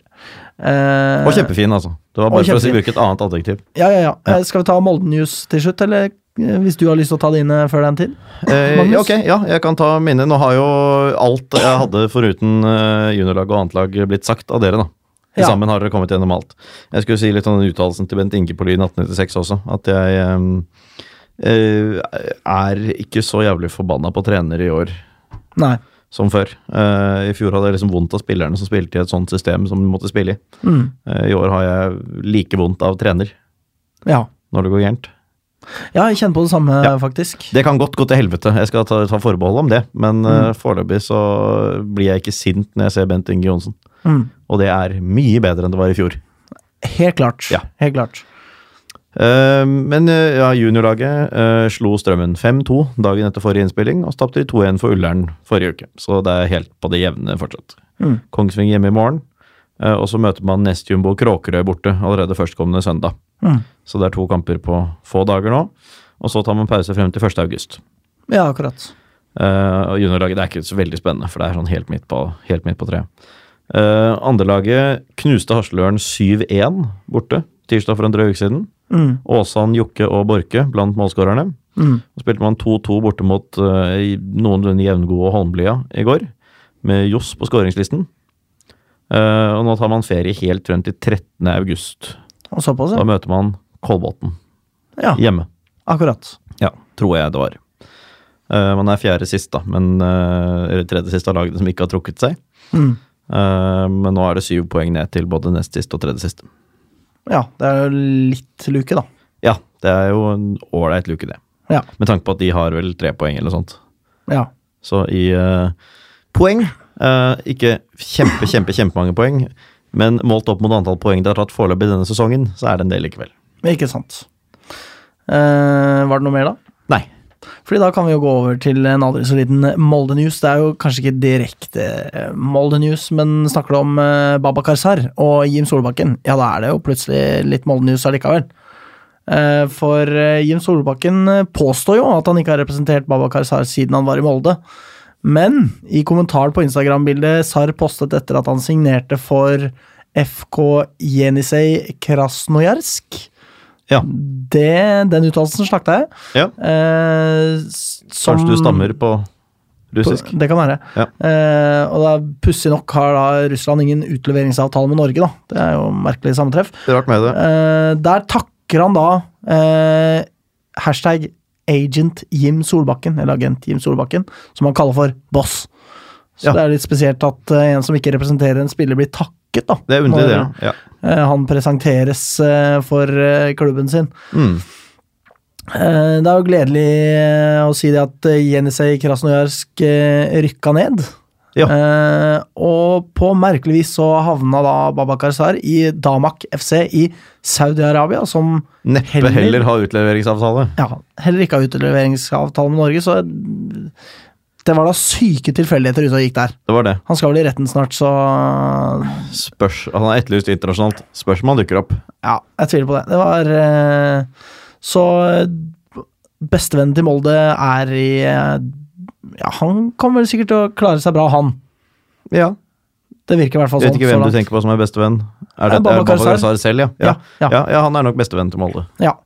A: Eh,
B: Og kjempefin, altså. Det var
A: Og
B: bare for å si-
A: kjempefin.
B: bruke et annet adjektiv.
A: Ja, ja, ja. Eh, skal vi ta Molde News til slutt, eller eh, hvis du har lyst til å ta dine før den tid?
B: Eh,
A: Magnus?
B: ja, ok, ja, jeg kan ta mine. Nå har jo alt jeg hadde foruten eh, juniorlag og annet lag blitt sagt av dere, da. Til
A: Ja.
B: sammen har dere kommet gjennom alt. Jeg skulle si litt om den uttalelsen til Bent Inge på Lyn 1896 også. At jeg eh, eh, er ikke så jævlig forbanna på trener i år
A: Nei.
B: som før. Eh, I fjor hadde jeg liksom vondt av spillerne som spilte i et sånt system som de måtte spille i.
A: Mm.
B: Eh, I år har jeg like vondt av trener
A: Ja.
B: når det går gærent.
A: ja, jeg kjenner på det samme,
B: Ja.
A: faktisk.
B: Det kan godt gå til helvete, jeg skal ta, ta forbehold om det. Men eh, foreløpig så blir jeg ikke sint når jeg ser Bent Inge Johnsen.
A: Mm.
B: Og det er mye bedre enn det var i fjor.
A: Helt klart.
B: Ja.
A: Helt klart.
B: Eh, men eh, ja, juniorlaget eh, slo Strømmen 5-2 dagen etter forrige innspilling, og så tapte de 2-1 for Ullern forrige uke. Så det er helt på det jevne fortsatt.
A: Mm.
B: Kongsvinger hjemme i morgen, eh, og så møter man Nestjumbo Kråkerøy borte allerede førstkommende søndag.
A: Mm.
B: Så det er to kamper på få dager nå. Og så tar man pause frem til 1. august.
A: Ja, akkurat.
B: Eh, og juniorlaget det er ikke så veldig spennende, for det er sånn helt midt på, helt midt på treet. Uh, Andrelaget knuste Hasløren 7-1 borte tirsdag for en drøy uke siden.
A: Mm.
B: Åsan, Jokke og Borke blant målskårerne.
A: Mm.
B: Så spilte man 2-2 borte mot eh, i- noenlunde jevngode Holmlia i går, med Johs på skåringslisten. Eh, og nå tar man ferie helt frem til 13. august.
A: Og såpass,
B: Da
A: ja.
B: møter man Kolbotn
A: ja.
B: hjemme.
A: Akkurat.
B: Ja, tror jeg det var. Eh, man er fjerde sist, da, men eh, eller tredje sist av lagene som ikke har trukket seg.
A: Mm.
B: Eh, men nå er det syv poeng ned til både nest sist og tredje sist.
A: Ja, det er jo litt luke, da.
B: Ja, det er jo en ålreit luke, det.
A: Ja.
B: Med tanke på at de har vel tre poeng eller noe sånt.
A: Ja.
B: Så i eh, poeng eh, Ikke kjempe, kjempe, kjempemange poeng, men målt opp mot antall poeng de har tatt foreløpig denne sesongen, så er det en del likevel.
A: Ikke sant. Eh, var det noe mer, da?
B: Nei.
A: Fordi da kan vi jo gå over til en aldri så liten eh, Molde News. Det er jo kanskje ikke direkte eh, Molde News, men snakker du om eh, Babakar Sarr og Jim Solbakken, ja da er det jo plutselig litt Molde News allikevel. Eh, For eh, Jim Solbakken eh, påstår jo at han ikke har representert Babakar Sarr siden han var i Molde. Men i kommentaren på Instagram-bildet Sarr postet etter at han signerte for FK Jenisej Krasnojarsk
B: Ja.
A: det, Den uttalelsen slakta jeg.
B: ja.
A: Eh, s- som-
B: Kanskje du stammer på russisk?
A: Det kan være.
B: Ja.
A: Eh, og da pussig nok har da Russland ingen utleveringsavtale med Norge, da. Det er jo merkelig sammentreff.
B: Rart med det.
A: Eh, der takker han da eh, hashtag agent Jim Solbakken, eller agent Jim Solbakken, som han kaller for boss. Så
B: Ja.
A: det er litt spesielt at eh, en som ikke representerer en spiller, blir takket, da.
B: Det er underlig, det.
A: når,
B: Ja.
A: eh, han presenteres eh, for eh, klubben sin.
B: Mm.
A: Eh, Det er jo gledelig eh, å si det at eh, Jenisej Krasnojarsk eh, rykka ned.
B: Ja.
A: Eh, og på merkelig vis så havna da Babakar Sar i Damak FC i Saudi-Arabia, som
B: Neppe
A: Heller-
B: heller, ha utleveringsavtale.
A: ja, heller ikke har utleveringsavtale med Norge, så eh, det var da syke tilfeldigheter ute og gikk der.
B: Det var det.
A: Han skal vel i retten snart, så
B: Spørs, han er etterlyst internasjonalt. Spørs om han dukker opp.
A: ja, jeg tviler på det. Det var eh, Så eh, bestevennen til Molde er i eh, Ja, han kommer vel sikkert til å klare seg bra, han.
B: Ja.
A: Det virker i hvert fall
B: Jeg
A: sånn.
B: vet ikke
A: så
B: hvem du
A: langt.
B: tenker på som er bestevenn.
A: Det
B: Er
A: er
B: det, det er
A: Babacar
B: Babacar
A: Sar.
B: Sar selv, ja. Ja.
A: Ja,
B: Ja,
A: ja.
B: ja. han er nok bestevennen til Molde.
A: Ja.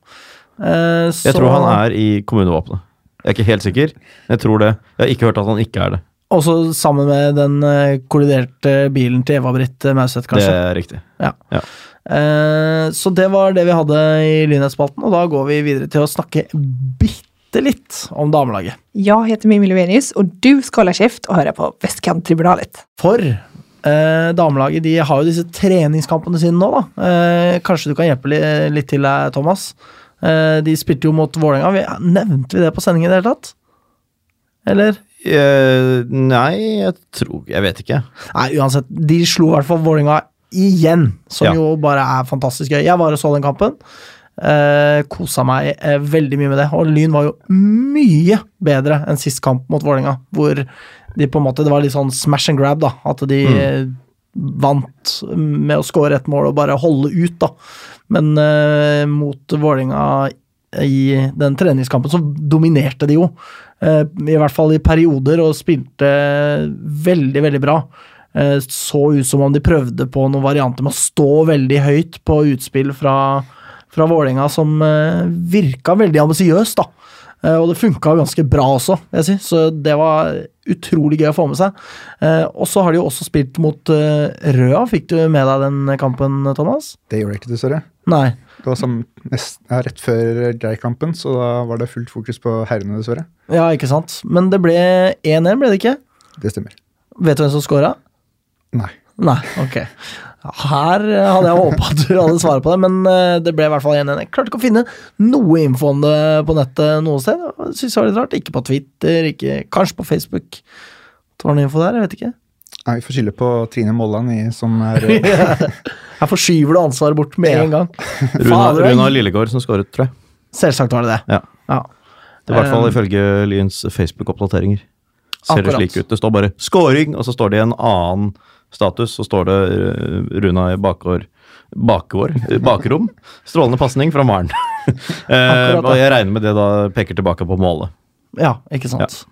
A: Eh,
B: Jeg
A: så-
B: tror han er i kommunevåpenet. Jeg er ikke helt sikker. men Jeg tror det. Jeg har ikke hørt at han ikke er det.
A: Også sammen med den eh, kolliderte bilen til Eva-Britt eh, Mauseth,
B: Det
A: kanskje.
B: er riktig.
A: Ja.
B: Ja.
A: Eh, så det var det vi hadde i Lynhetsspalten, og da går vi videre til å snakke bitte bitte litt om damelaget.
E: Jag heter Mimmi Lovenius och du ska hålla käft och höra på Västkanttribunalet.
A: For eh, damelaget de har jo disse treningskampene sine nå, da. Eh, kanskje du kan hjelpe litt, litt til, eh, Thomas. Eh, de spilte jo mot Vålerenga. Vi- Nevnte vi det på sendingen i det hele tatt? Eller?
B: Eh, nei, jeg tror Jeg vet ikke.
A: Nei, uansett. De slo i hvert fall Vålerenga igjen, som
B: Ja.
A: jo bare er fantastisk gøy. Jeg var og så den kampen. Eh, kosa meg eh, veldig mye med det. Og Lyn var jo mye bedre enn sist kamp mot Vålerenga, hvor de på en måte, det var litt sånn smash and grab, da. At de eh, vant med å score ett mål og bare holde ut, da. Men eh, mot Vålerenga i den treningskampen så dominerte de jo. Eh, I hvert fall i perioder, og spilte veldig, veldig bra. Eh, så ut som om de prøvde på noen varianter med å stå veldig høyt på utspill fra, fra Vålerenga, som eh, virka veldig ambisiøs, da. Eh, Og det funka jo ganske bra også, vil jeg si. så det var utrolig gøy å få med seg. Eh, Og så har de jo også spilt mot eh, Røa. Fikk du med deg den kampen, Thomas?
C: Det gjorde jeg ikke, dessverre.
A: Nei.
C: Det var sånn nest, ja, rett før Geir-kampen, så da var det fullt fokus på herrene, dessverre.
A: Ja, ikke sant. Men det ble 1-1, ble det ikke?
C: Det stemmer.
A: Vet du hvem som scora?
C: Nei.
A: Nei, ok. Her eh, hadde jeg håpa at du hadde svaret på det, men eh, det ble i hvert fall 1-1. Jeg klarte ikke å finne noe info om det på nettet noe sted. Jeg Synes det var litt rart. Ikke på Twitter, ikke, kanskje på Facebook. Det var noe info der, jeg vet ikke.
C: Nei, vi får skylde på Trine Molland, i, som er eh,
A: Her forskyver du ansvaret bort med en gang.
B: Runa,
A: Fader,
B: Runa Lillegård som skåret, tror jeg.
A: Selvsagt var det det.
B: Ja.
A: Ja.
B: Det er I hvert fall
A: Eh,
B: ifølge Lyns Facebook-oppdateringer. Ser
A: Akkurat.
B: det slik ut. Det står bare 'scoring', og så står det i en annen status, så står det eh, Runa i bakår, bakår, eh, bakrom. Strålende pasning fra Maren. Eh,
A: Akkurat,
B: og jeg regner med det da peker tilbake på målet.
A: Ja, ikke sant.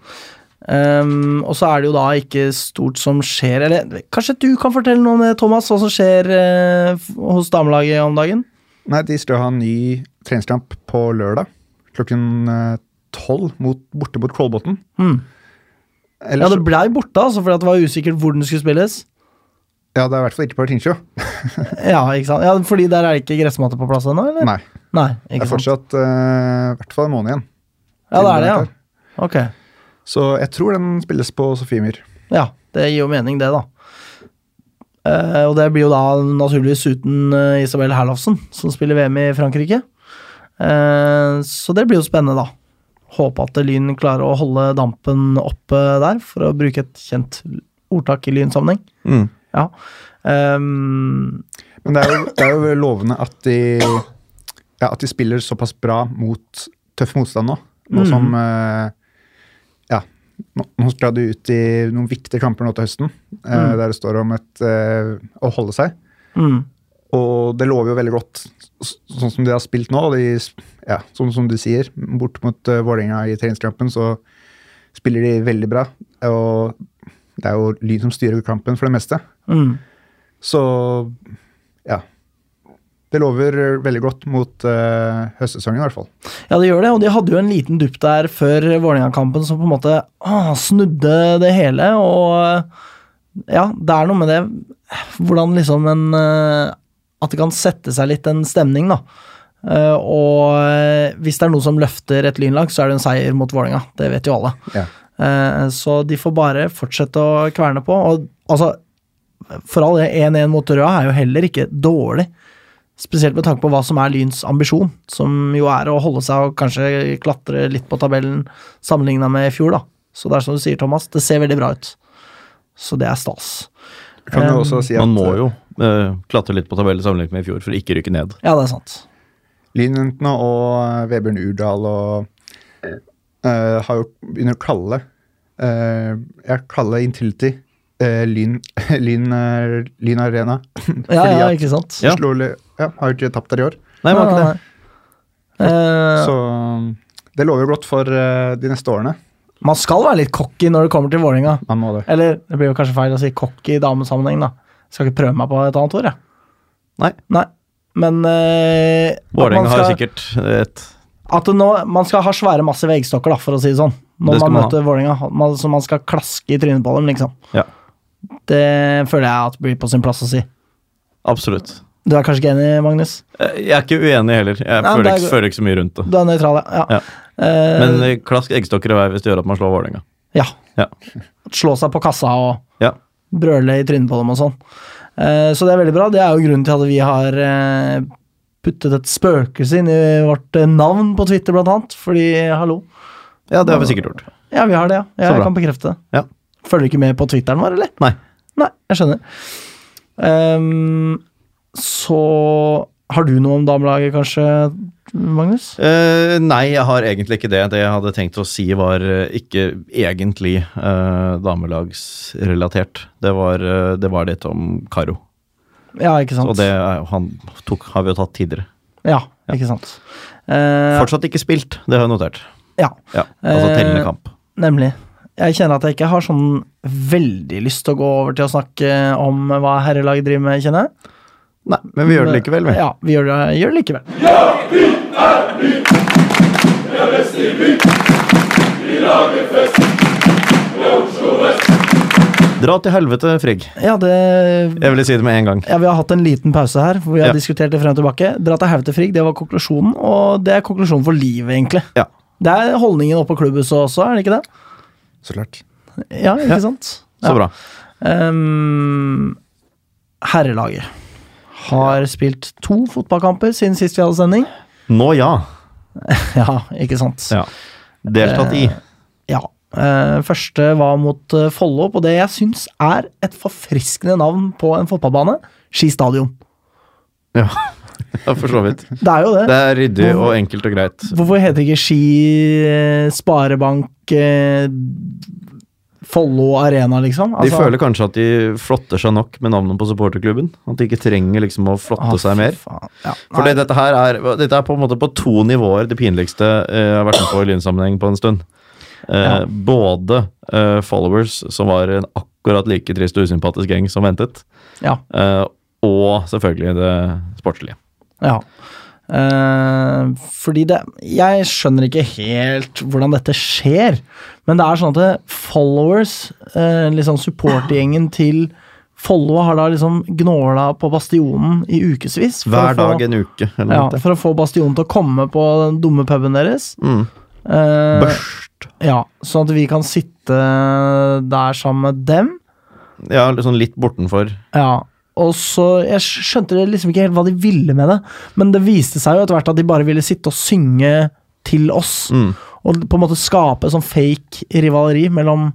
A: Ehm, og så er det jo da ikke stort som skjer, eller kanskje du kan fortelle noe om det, Thomas, hva som skjer eh, f- hos damelaget om dagen?
C: Nei, de skal ha en ny treningskamp på lørdag klokken eh, tolv mot, borte mot Kolbotn.
A: Mm. Ja,
C: Ellers,
A: det blei borte, altså, fordi at det var usikkert hvor den skulle spilles.
C: ja, det er i hvert fall ikke på Tingsjø.
A: Ja, ikke sant? Ja, fordi der er det ikke gressmatte på plass ennå, eller?
C: Nei.
A: Nei,
C: Det
A: ikke
C: er
A: sant?
C: fortsatt eh, i hvert fall en måned igjen.
A: Ja, det er det, ja. Ok.
C: Så jeg tror den spilles på Sofiemyr.
A: Ja, det gir jo mening, det, da. Eh, og det blir jo da naturligvis uten eh, Isabel Herlofsen, som spiller VM i Frankrike. Eh, så det blir jo spennende, da. Håpe at Lyn klarer å holde dampen oppe der, for å bruke et kjent ordtak i Lyn-sammenheng.
B: Mm.
A: Ja. Ehm,
C: Men det er jo, det er jo lovende at de, ja, at de spiller såpass bra mot tøff motstand nå.
A: Mm.
C: Nå som eh, Ja, nå, nå skal du ut i noen viktige kamper nå til høsten, eh,
A: Mm.
C: der det står om et, eh, å holde seg.
A: mm,
C: Og det lover jo veldig godt, s- sånn som de har spilt nå. og De, s- ja, sånn som du sier, bort mot uh, Vålerenga i treningskampen, så spiller de veldig bra. Og det er jo Lyn som styrer kampen for det meste.
A: mm.
C: Så ja. Det lover eh, veldig godt mot eh, høstsesongen, i hvert fall.
A: Ja, det gjør det, og de hadde jo en liten dupp der før Vålerenga-kampen som på en måte ah, snudde det hele, og eh, ja, det er noe med det Hvordan liksom en eh, At det kan sette seg litt en stemning, da. Eh, og eh, hvis det er noe som løfter et lynlag, så er det en seier mot Vålerenga. Det vet jo alle.
C: Ja.
A: Eh, så de får bare fortsette å kverne på. Og altså, for all del, 1-1 mot Røa er jo heller ikke dårlig. Spesielt med tanke på hva som er Lyns ambisjon, som jo er å holde seg og kanskje klatre litt på tabellen sammenligna med i fjor, da. Så det er som du sier, Thomas, det ser veldig bra ut. Så det er stas.
C: Jeg Kan
A: Um,
C: jo også si at
B: Man må jo eh, klatre litt på tabellen sammenlignet med i fjor for å ikke rykke ned.
A: Ja, det er sant.
C: Lynjentene og eh, Vebjørn Urdal og eh, har jo begynner å kalle eh, Jeg kaller Intility eh, Lyn, lyn, eh, lyn Arena.
A: Ja,
C: Fordi
A: ja,
C: at-
A: ikke sant.
B: Ja.
C: Slo, Ly- ja, har jo ikke tapt der i år.
B: Nei, var ikke det.
A: nei. Eh,
C: Så mm, det lover jo godt for eh, de neste årene.
A: man skal være litt cocky når det kommer til Vålerenga.
C: Man må det.
A: Eller det blir jo kanskje feil å si cocky i damesammenheng, da. Skal ikke prøve meg på et annet ord, jeg.
B: Nei.
A: Nei. Men eh, at man
B: Vålerenga har
A: skal-
B: sikkert et
A: At det nå, man skal ha svære, massive eggstokker, da, for å si det sånn.
B: Det
A: Når
B: skal
A: man
B: man ha.
A: møter Vålerenga. Man- Så man skal klaske i trynet på dem, liksom.
B: Ja,
A: Det føler jeg at blir på sin plass å si.
B: absolutt.
A: Du er kanskje ikke enig, Magnus?
B: Eh, Jeg er ikke uenig heller. Jeg
A: Nei,
B: føler
A: det er
B: ikke,
A: go-
B: føler ikke så mye rundt det.
A: Du er nøytral, ja.
B: Ja.
A: Eh,
B: Men eh, klask eggstokker i vei hvis det gjør at man slår Vålerenga.
A: ja.
B: Ja.
A: Slå seg på kassa og
B: Ja.
A: brøle i trynet på dem og sånn. Eh, så det er veldig bra. Det er jo grunnen til at vi har eh, puttet et spøkelse inn i vårt eh, navn på Twitter, blant annet. Fordi, hallo.
B: ja, det har vi sikkert gjort.
A: Ja, vi har det, ja.
B: Så
A: ja jeg
B: bra.
A: kan bekrefte det.
B: Ja.
A: Følger du ikke med på Twitteren vår, eller?
B: Nei.
A: Nei, jeg skjønner. Ehm, så har du noe om damelaget, kanskje, Magnus?
B: Eh, nei, jeg har egentlig ikke det. Det jeg hadde tenkt å si var eh, ikke egentlig eh, damelagsrelatert. Det var, eh, det var litt om Karo.
A: Ja, ikke sant?
B: Og det er, jo- han tok, har vi jo tatt tidligere.
A: Ja, ikke sant. Eh,
B: Fortsatt ikke spilt, det har jeg notert.
A: ja,
B: Ja, altså
A: Eh,
B: tellende kamp.
A: nemlig. Jeg kjenner at jeg ikke har sånn veldig lyst til å gå over til å snakke om hva herrelaget driver med, kjenner jeg.
B: Nei, men vi gjør det likevel, vi.
A: Ja, vi gjør det, gjør det likevel.
B: Dra til helvete, Frigg.
A: Ja, det
B: Jeg ville si det med en gang.
A: Ja, Vi har hatt en liten pause her, hvor vi har
B: Ja.
A: diskutert det frem og tilbake. Dra til Hautefrig, det var konklusjonen, og det er konklusjonen for livet, egentlig.
B: Ja.
A: Det er holdningen oppe på klubbhuset også, er det ikke det?
C: Så klart.
A: Ja, ikke sant?
B: Så bra.
A: Ehm, herrelaget har spilt to fotballkamper siden sist vi hadde sending.
B: Nå ja.
A: Ja, ikke sant?
B: ja. Deltatt i.
A: Ja. Eh, første var mot eh, Follo, på det jeg syns er et forfriskende navn på en fotballbane. Ski stadion.
B: Ja, ja for så vidt.
A: Det er jo det.
B: Det er ryddig og enkelt og greit.
A: Hvorfor heter det ikke Ski eh, Sparebank eh, Follo Arena, liksom?
B: De føler kanskje at de flotter seg nok med navnet på supporterklubben. At de ikke trenger liksom å flotte seg mer.
A: Ja,
B: For
A: nei,
B: dette her er, dette er på en måte på to nivåer det pinligste eh, jeg har vært med på i lynsammenheng på en stund. Eh,
A: Ja.
B: Både eh, followers, som var en akkurat like trist og usympatisk gjeng som ventet,
A: ja,
B: eh, og selvfølgelig det sportslige.
A: ja. Eh, fordi det Jeg skjønner ikke helt hvordan dette skjer, men det er sånn at det, followers, eh, liksom supportergjengen til Follo, har da liksom gnåla på Bastionen i ukevis. for å
B: Hver
A: få-
B: dag en uke. Eller
A: Ja,
B: noe.
A: for å få Bastionen til å komme på den dumme puben deres.
B: Mm.
A: Eh,
B: Børst.
A: Ja, sånn at vi kan sitte der sammen med dem.
B: Ja, sånn litt bortenfor.
A: Ja, og så Jeg skj- skjønte det liksom ikke helt hva de ville med det, men det viste seg jo etter hvert at de bare ville sitte og synge til oss.
B: Mm.
A: Og på en måte skape sånn fake rivaleri mellom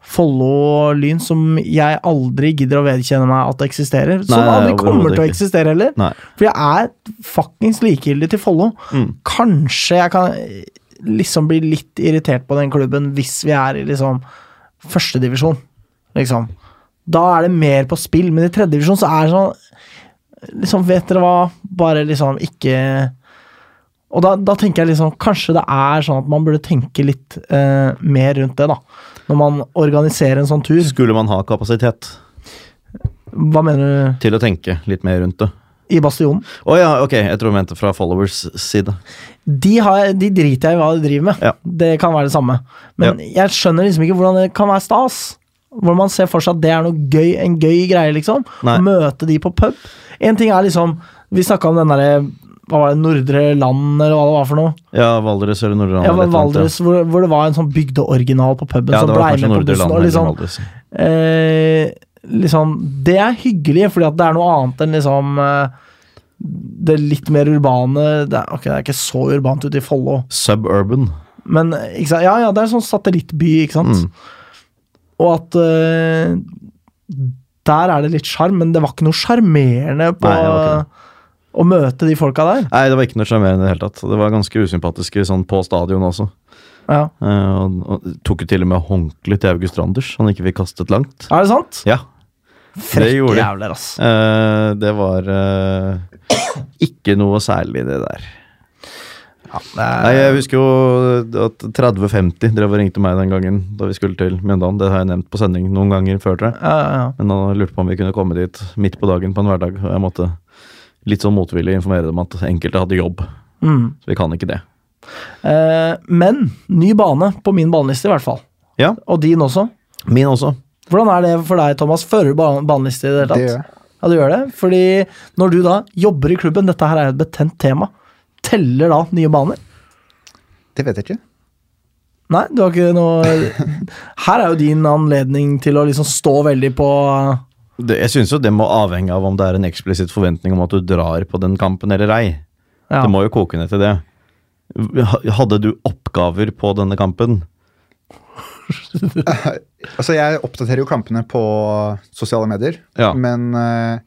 A: Follo og Lyn, som jeg aldri gidder å vedkjenne meg at det eksisterer. Som
B: Nei,
A: aldri kommer
B: overhodet
A: til å
B: ikke.
A: eksistere heller.
B: Nei.
A: For jeg er fuckings likegyldig til Follo.
B: Mm.
A: Kanskje jeg kan liksom bli litt irritert på den klubben hvis vi er i liksom førstedivisjon, liksom. Da er det mer på spill, men i tredjedivisjon så er det sånn Liksom, vet dere hva? Bare liksom ikke Og da, da tenker jeg liksom Kanskje det er sånn at man burde tenke litt eh, mer rundt det, da. Når man organiserer en sånn tur.
B: Skulle man ha kapasitet
A: Hva mener
B: til å tenke litt mer rundt det?
A: du i Bastionen?
B: Å ja, ok, jeg tror du mente fra followers side.
A: De, har, de driter jeg i hva de driver med.
B: Ja.
A: Det kan være det samme. Men jeg skjønner liksom ikke hvordan det kan være stas. Hvor man ser for seg at det er noe gøy, en gøy greie, liksom.
B: Nei.
A: Å møte de på pub. En ting er liksom Vi snakka om den derre hva var det, Nordre Land, eller hva det var for noe?
B: Ja, Valdres eller Nordre
A: Ja,
B: Land, eller et eller annet,
A: Valdres, hvor, hvor det var en sånn bygdeoriginal på puben
B: Ja,
A: som
B: det
A: blei
B: var kanskje
A: med på
B: Nordre
A: bussen.
B: Land
A: Og
B: eller
A: liksom,
B: Valdres.
A: eh, liksom Det er hyggelig, fordi at det er noe annet enn liksom eh, det litt mer urbane det er, Ok, det er ikke så urbant ute i Follo,
B: Suburban.
A: men ikke sant? Ja, ja, det er en sånn satellittby, ikke sant?
B: Mm.
A: Og at eh, Der er det litt sjarm, men det var ikke noe sjarmerende på
B: Nei, det var ikke
A: å møte de folka der.
B: Nei, det var ikke noe sjarmerende i det hele tatt. Det var ganske usympatiske sånn på stadion også.
A: Ja.
B: Eh, og, og tok jo til og med håndkle til August Randers, han ikke fikk kastet langt.
A: Er det sant?
B: Ja, gjorde de.
A: Frekke jævler, ass.
B: eh, det var eh, ikke noe særlig, det der. Nei, Jeg husker jo at 3050 drev og ringte meg den gangen da vi skulle til Mjøndalen. Det har jeg nevnt på sending noen ganger før, tror jeg.
A: Ja, ja, ja.
B: Men han lurte på om vi kunne komme dit midt på dagen på en hverdag. Og jeg måtte litt sånn motvillig informere dem at enkelte hadde jobb. Så vi kan ikke det.
A: Mm. Eh, men ny bane på min baneliste, i hvert fall.
B: Ja,
A: Og din også.
B: min også.
A: Hvordan er det for deg, Thomas? Fører du ban- baneliste i det hele
C: Det
A: tatt?
C: gjør jeg.
A: Ja, du gjør det. Fordi når du da jobber i klubben, dette her er jo et betent tema, teller da nye baner?
C: Det vet jeg ikke.
A: Nei, du har ikke noe Her er jo din anledning til å liksom stå veldig på
B: Det, jeg syns jo det må avhenge av om det er en eksplisitt forventning om at du drar på den kampen eller ei.
A: ja.
B: Det må jo koke ned til det. Ha- Hadde du oppgaver på denne kampen?
C: Altså, jeg oppdaterer jo kampene på sosiale medier,
B: Ja.
C: men eh,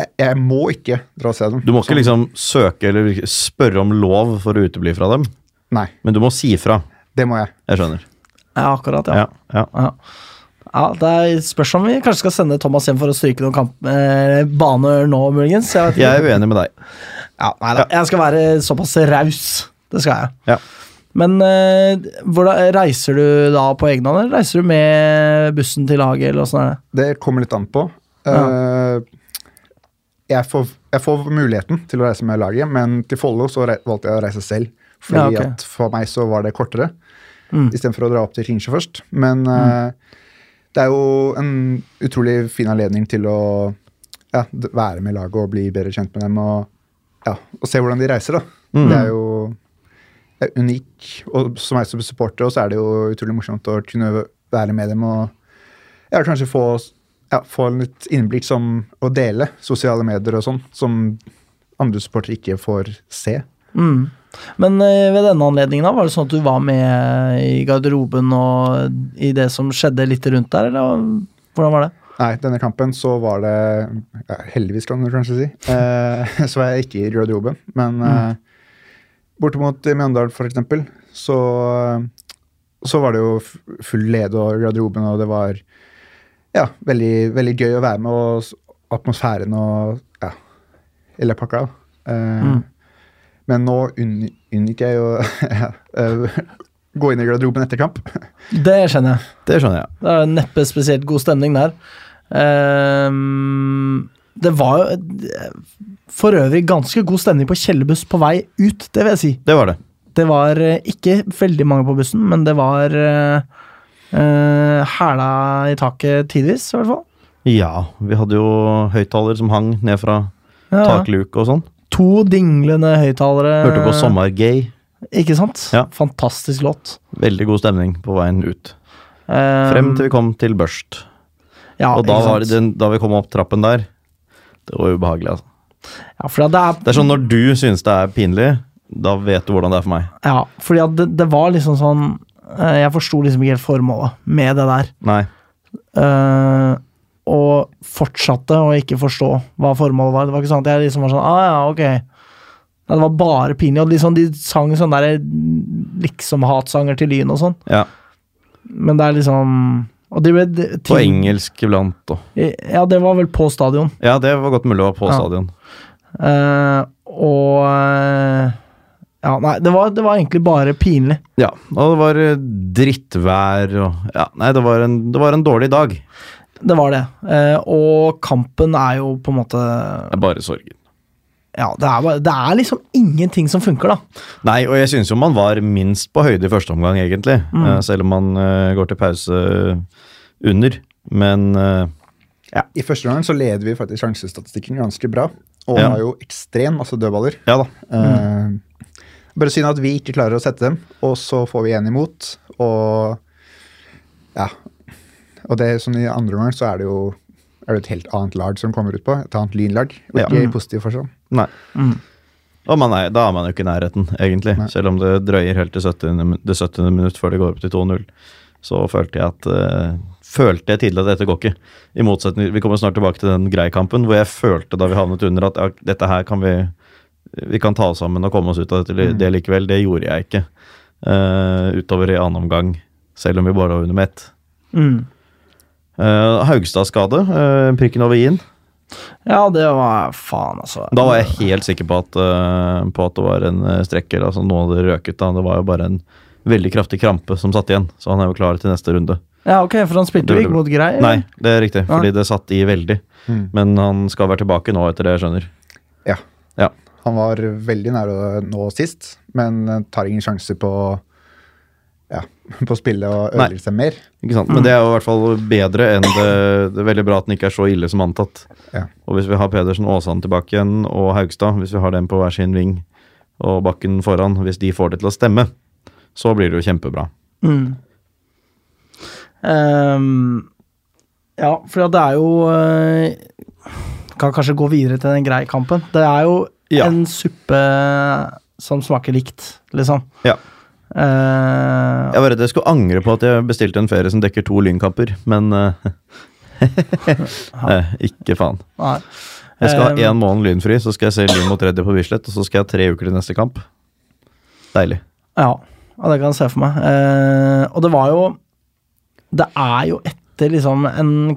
C: jeg, jeg må ikke dra og se dem.
B: Du må
C: Så-
B: ikke liksom søke eller spørre om lov for å utebli fra dem,
C: Nei,
B: men du må si fra.
C: det må jeg.
B: Jeg skjønner.
A: ja, akkurat, ja.
B: Ja, ja.
A: Ja. ja det er spørs om vi kanskje skal sende Thomas hjem for å stryke noen kamp, eh, baner nå, muligens. Jeg, vet ikke.
B: Jeg er uenig med deg.
A: Ja, nei da. Jeg skal være såpass raus. Det skal jeg.
B: Ja.
A: Men eh, hvordan, reiser du da på egen hånd, eller reiser du med bussen til laget, eller sånn åssen er det?
C: Det kommer litt an på. Eh, jeg, får, jeg får muligheten til å reise med laget, men til Follo så rei- valgte jeg å reise selv. Fordi
A: Ja, ok.
C: at for meg så var det kortere,
A: Mm.
C: istedenfor å dra opp til Kringsjå først. Men eh, det er jo en utrolig fin anledning til å ja, d- være med laget og bli bedre kjent med dem og, ja, og se hvordan de reiser, da.
A: Mm.
C: Det er jo det er unik. Og som meg som supporter også er det jo utrolig morsomt å kunne være med dem og ja, kanskje få, ja, få en litt innblikk som å dele sosiale medier og sånn, som andre supportere ikke får se.
A: Mm. Men eh, ved denne anledningen, da, var det sånn at du var med i garderoben og i det som skjedde litt rundt der, eller hvordan var det?
C: Nei, denne kampen så var det ja, Heldigvis, kan du kanskje si. Eh, så var jeg ikke i garderoben. Men eh, bortimot i Mjøndalen, for eksempel, så, eh, så var det jo f- full lede og garderoben, og det var ja, veldig, veldig gøy å være med, og s- atmosfæren og ja, hele pakka. da. Eh,
A: Mm.
C: Men nå unn- unngikk jeg å ja, eh, gå inn i garderoben etter kamp.
A: Det skjønner jeg.
B: Det skjønner jeg.
A: Det er neppe spesielt god stemning der. Ehm, det var jo eh, for øvrig ganske god stemning på Kjellerbuss på vei ut, det vil jeg si.
B: Det var det.
A: Det var eh, ikke veldig mange på bussen, men det var eh, eh, hæla i taket tidvis, i hvert fall.
B: Ja, vi hadde jo høyttaler som hang ned fra
A: Ja, ja.
B: takluke og sånn.
A: To dinglende høyttalere.
B: Hørte på Sommergay.
A: Ikke sant?
B: Ja.
A: Fantastisk låt.
B: Veldig god stemning på veien ut.
A: Ehm,
B: Frem til vi kom til Børst.
A: ja,
B: Og da,
A: ikke sant?
B: var det den, da vi kom opp trappen der Det var ubehagelig, altså.
A: Ja, fordi at det er,
B: Det er sånn når du synes det er pinlig, da vet du hvordan det er for meg.
A: ja, fordi at det, det var liksom sånn eh, Jeg forsto liksom ikke helt formålet med det der.
B: Nei.
A: Eh, og fortsatte å ikke forstå hva formålet var. Det var ikke sånn at jeg liksom var sånn ah, ja, ok. Nei, det var bare pinlig. Og liksom, de sang sånne der liksom-hatsanger til Lyn og sånn.
B: Ja.
A: Men det er liksom Og de ble de-
B: På
A: ting-
B: engelsk iblant og
A: Ja, det var vel på stadion.
B: Ja, det var godt mulig å være på
A: Ja.
B: stadion.
A: Eh, og eh, Ja, nei, det var, det var egentlig bare pinlig.
B: Ja, og det var eh, drittvær og Ja, nei, det var en, det var en dårlig dag.
A: Det var det. Eh, og kampen er jo på en måte
B: Det er bare sorgen.
A: Ja, det er, bare- det er liksom ingenting som funker, da.
B: Nei, og jeg synes jo man var minst på høyde i første omgang, egentlig. Eh, Selv om man eh, går til pause under. Men eh,
C: I første omgang så leder vi faktisk sjansestatistikken ganske bra, og
B: Ja.
C: har jo ekstremt masse dødballer.
B: ja da.
C: Eh, bare synd at vi ikke klarer å sette dem, og så får vi en imot, og ja. Og det som i andre omgang så er det jo er det et helt annet lag som kommer ut på, et annet lynlag, og
B: Ja. Mm.
C: ikke i positiv forstand.
B: Nei. Og man er, da er man jo ikke i nærheten, egentlig. Selv om det drøyer helt til 70, min- det 70. minutt før det går opp til 2-0. Så følte jeg at eh, Følte jeg tidlig at dette går ikke. I motsetning, Vi kommer snart tilbake til den Grei-kampen hvor jeg følte da vi havnet under at ja, dette her kan vi vi kan ta oss sammen og komme oss ut av dette, li- det likevel. Det gjorde jeg ikke. eh, utover i annen omgang, selv om vi bare var under med ett.
A: Mm.
B: Eh, Haugstad-skade, eh, prikken over i-en.
A: Ja, det var faen, altså.
B: Da var jeg helt sikker på at, eh, på at det var en eh, strekker. Altså, noe hadde røket. Da. Det var jo bare en veldig kraftig krampe som satt igjen. Så han er jo klar til neste runde.
A: Ja, ok, for han spilte jo ikke mot Grei. eller?
B: Nei, det er riktig, fordi det satt i veldig.
C: Mm.
B: Men han skal være tilbake nå, etter det jeg skjønner.
C: Ja.
B: Ja.
C: Han var veldig nære å nå sist, men eh, tar ingen sjanse på ja, på å spille og
B: Nei.
C: ødelegge seg mer.
B: Ikke sant? Men det er jo i hvert fall bedre enn det, det er veldig bra at den ikke er så ille som antatt.
C: Ja.
B: Og hvis vi har Pedersen og Aasand tilbake igjen, og Haugstad, hvis vi har dem på hver sin ving, og Bakken foran, hvis de får det til å stemme, så blir det jo kjempebra.
A: Mm. Ehm, ja, for det er jo eh, Kan kanskje gå videre til den greie kampen. Det er jo
B: Ja.
A: en suppe som smaker likt, liksom.
B: Ja.
A: Eh,
B: Jeg var redd jeg skulle angre på at jeg bestilte en ferie som dekker to lynkamper, men eh, eh, ikke faen.
A: nei.
B: Jeg skal ha
A: Eh,
B: én måned lynfri, så skal jeg se Lyn mot Reddy på Bislett, og så skal jeg ha tre uker til neste kamp. Deilig.
A: Ja, ja, det kan jeg se for meg. Eh, og det var jo Det er jo etter liksom en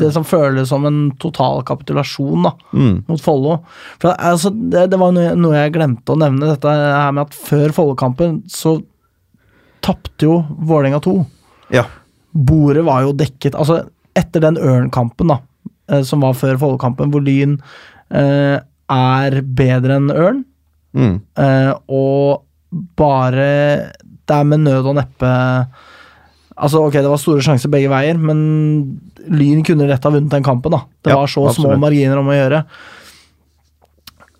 A: Det som føles som en total kapitulasjon, da.
B: Mm.
A: mot Follo. For det, altså, det, det var noe, noe jeg glemte å nevne, dette her med at før Follo-kampen så tapte jo Vålerenga 2.
B: Ja.
A: Bordet var jo dekket Altså, etter den Ørn-kampen da, eh, som var før Follo-kampen, hvor Lyn eh, er bedre enn Ørn,
B: Mm.
A: eh, og bare Det er med nød og neppe Altså, ok, Det var store sjanser begge veier, men Lyn kunne lett ha vunnet den kampen. da. Det
B: Ja,
A: var så små
B: absolutt.
A: marginer om å gjøre.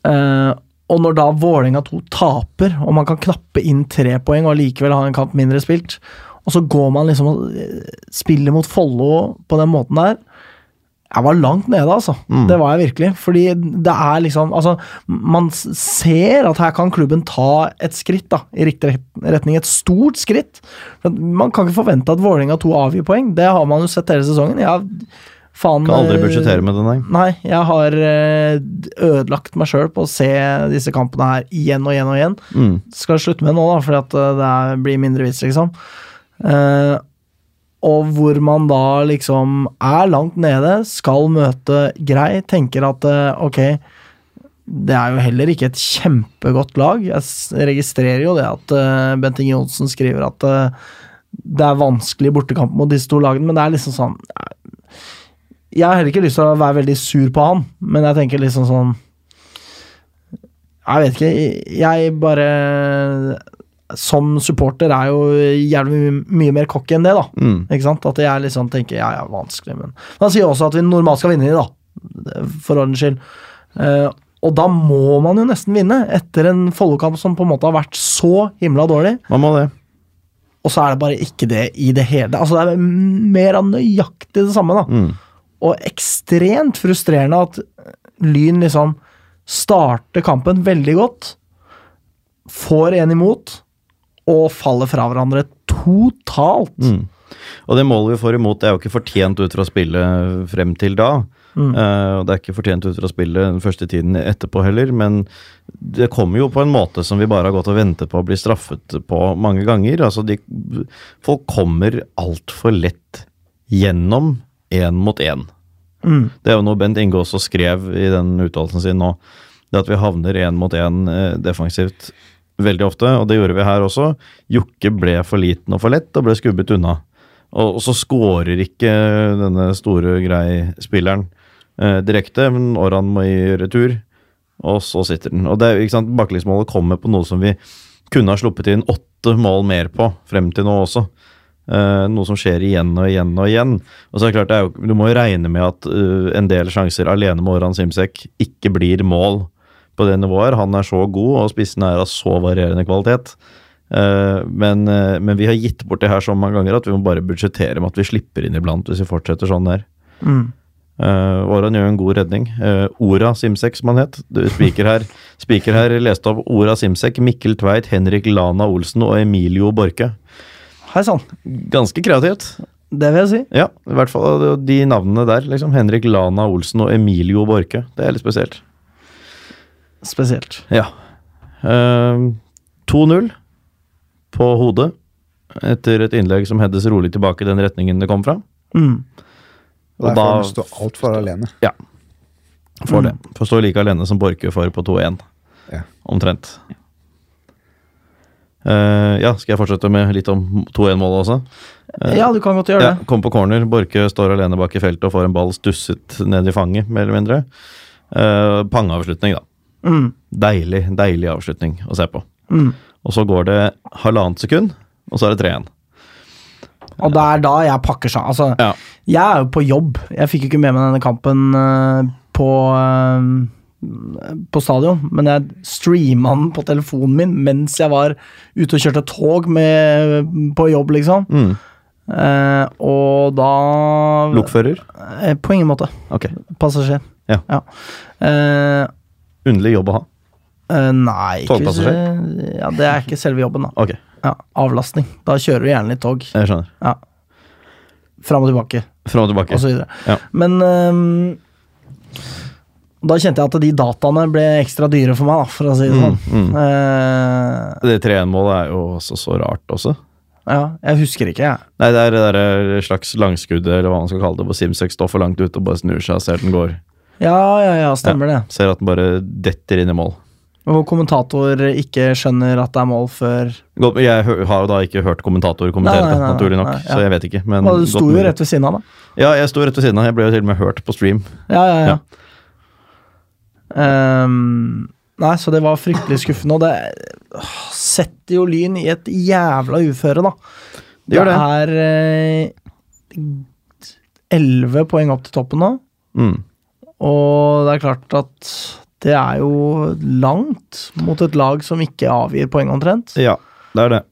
A: Eh, og når da Vålerenga 2 taper, og man kan knappe inn tre poeng og allikevel ha en kamp mindre spilt, og så går man liksom og eh, spiller mot Follo på den måten der Jeg var langt nede, altså.
B: Mm.
A: Det var jeg virkelig. Fordi det er liksom Altså, man s- ser at her kan klubben ta et skritt da, i riktig ret- retning. Et stort skritt. Men Man kan ikke forvente at Vålerenga 2 avgir poeng. Det har man jo sett hele sesongen. Jeg har faen
B: Kan aldri
A: eh,
B: budsjettere med det, nei.
A: Nei, jeg har eh, ødelagt meg sjøl på å se disse kampene her igjen og igjen og igjen.
B: Mm.
A: Skal jeg slutte med nå, da, fordi at eh, det er, blir mindre vits, liksom. Eh, og hvor man da liksom er langt nede, skal møte grei, tenker at eh, ok, det er jo heller ikke et kjempegodt lag. Jeg s- registrerer jo det at eh, Bent Inge Johnsen skriver at eh, det er vanskelig bortekamp mot disse to lagene, men det er liksom sånn jeg har heller ikke lyst til å være veldig sur på han, men jeg tenker liksom sånn Jeg vet ikke. Jeg bare Som supporter er jo jævlig my- mye mer cocky enn det, da.
B: Mm.
A: Ikke sant? At jeg liksom tenker ja, ja, vanskelig, men Men Han sier også at vi normalt skal vinne de, da. For ordens skyld. Eh, og da må man jo nesten vinne, etter en Follo-kamp som på en måte har vært så himla dårlig.
B: Man må det.
A: Og så er det bare ikke det i det hele. Altså, det er mer av nøyaktig det samme, da.
B: Mm.
A: Og ekstremt frustrerende at Lyn liksom starter kampen veldig godt, får en imot, og faller fra hverandre totalt.
B: Mm. Og det målet vi får imot, det er jo ikke fortjent ut fra spillet frem til da. Eh, og det er ikke fortjent ut fra spillet den første tiden etterpå heller, men det kommer jo på en måte som vi bare har gått og ventet på å bli straffet på mange ganger. Altså, de, folk kommer altfor lett gjennom én mot én.
A: Mm.
B: Det er jo noe Bent Inge også skrev i den uttalelsen sin nå. Det at vi havner én mot én eh, defensivt veldig ofte, og det gjorde vi her også. Jokke ble for liten og for lett, og ble skubbet unna. Og, og så skårer ikke denne store, grei spilleren eh, direkte, men Oran må i retur, og så sitter den. Og det, er jo, ikke sant, Baklengsmålet kommer på noe som vi kunne ha sluppet inn åtte mål mer på frem til nå også. Eh, noe som skjer igjen og igjen og igjen. Og så er det klart, det er jo, Du må jo regne med at eh, en del sjanser alene med Oran Simsek ikke blir mål på det nivået. her. Han er så god, og spissen er av så varierende kvalitet. Eh, men, eh, men vi har gitt bort det her så mange ganger at vi må bare budsjettere med at vi slipper inn iblant hvis vi fortsetter sånn der.
A: Mm.
B: Uh, Oran gjør en god redning. Eh, Ora Simsek, som han het. Du, Spiker her, spiker her leste opp Ora Simsek, Mikkel Tveit, Henrik Lana Olsen og Emilio Borke.
A: Hei sann,
B: Ganske kreativt.
A: det vil jeg si.
B: Ja, i hvert fall eh, de navnene der. liksom Henrik Lana Olsen og Emilio Borke. Det er litt spesielt.
A: Spesielt.
B: Ja. Ehm, 2-0 på hodet etter et innlegg som heades rolig tilbake i den retningen det kom fra.
A: Mm.
C: Og
B: Og
C: derfor
B: da
C: må du stå Mm. altfor alene.
B: får det. Får stå like alene som Borke for på 2-1,
C: Ja.
B: omtrent. Eh, ja, skal jeg fortsette med litt om 2-1-målet også? Eh,
A: Ja, du kan godt gjøre
B: Ja,
A: det.
B: kom på corner. Borke står alene bak i feltet og får en ball stusset ned i fanget, mer eller mindre. Eh, pangeavslutning, da.
A: Mm.
B: Deilig, deilig avslutning å se på.
A: Mm.
B: Og så går det halvannet sekund, og så er det tre igjen.
A: Og det er da jeg pakker seg. Altså,
B: Ja.
A: jeg er jo på jobb. Jeg fikk jo ikke med meg denne kampen eh, på eh, på stadion, men jeg streama den på telefonen min mens jeg var ute og kjørte tog med, på jobb, liksom.
B: Mm.
A: Eh, og da
B: Lokfører?
A: Eh, På ingen måte.
B: Ok.
A: Passasjer.
B: Ja.
A: Eh,
B: Underlig jobb å ha.
A: eh, nei ikke hvis-
B: Togpassasjer?
A: Ja, Det er ikke selve jobben, da.
B: Ok,
A: Ja, avlastning. Da kjører du gjerne litt tog.
B: jeg skjønner.
A: Ja. Fram og tilbake,
B: Fram og tilbake.
A: og så videre.
B: Ja.
A: Men ehm, da kjente jeg at de dataene ble ekstra dyre for meg, da, for å si det sånn.
B: Mm, mm.
A: Eh,
B: Det 3-1-målet er jo også så rart også.
A: ja, jeg husker ikke, jeg.
B: Nei, det er det der eh, slags langskuddet, eller hva man skal kalle det, hvor Simsek står for langt ut og bare snur seg og ser den går.
A: Ja, ja, ja, stemmer det.
B: Ser at den bare detter inn i mål.
A: Og kommentator ikke skjønner at det er mål før
B: Godt, jeg hø- har jo da ikke hørt kommentator
A: Nei,
B: kommentere
A: nei,
B: det,
A: nei,
B: naturlig
A: nei,
B: nok,
A: nei, ja.
B: så jeg vet ikke. Men
A: Og Du sto
B: godt
A: jo
B: mulig.
A: rett ved siden av, da.
B: Ja, jeg sto rett ved siden av. Jeg ble jo til og med hørt på stream.
A: Ja, ja, ja. Ehm, nei, så det var fryktelig skuffende, og det åh, setter jo Lyn i et jævla uføre, da.
B: Det gjør
A: det er eh, elleve poeng opp til toppen nå,
B: Mm.
A: og det er klart at det er jo langt mot et lag som ikke avgir poeng, omtrent.
B: Ja, det er det.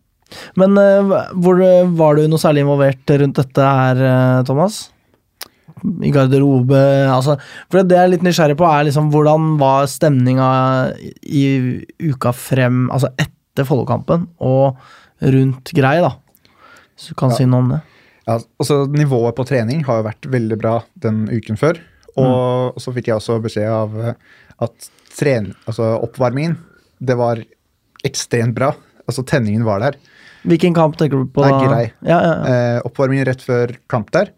A: Men eh, hvor, var du noe særlig involvert rundt dette her, eh, Thomas? I garderobe altså, For det jeg er litt nysgjerrig på, er liksom hvordan var stemninga i uka frem, altså etter Follo-kampen, og rundt grei, da? Hvis du kan
C: Ja.
A: si noe om det.
C: Ja, altså Nivået på trening har jo vært veldig bra den uken før. Og, og så fikk jeg også beskjed av eh, at tren, altså oppvarmingen det var ekstremt bra. Altså Tenningen var der.
A: Hvilken kamp tenker du på?
C: Nei,
A: da?
C: Grei.
A: Ja, ja, ja.
C: Eh, oppvarmingen rett før kamp der.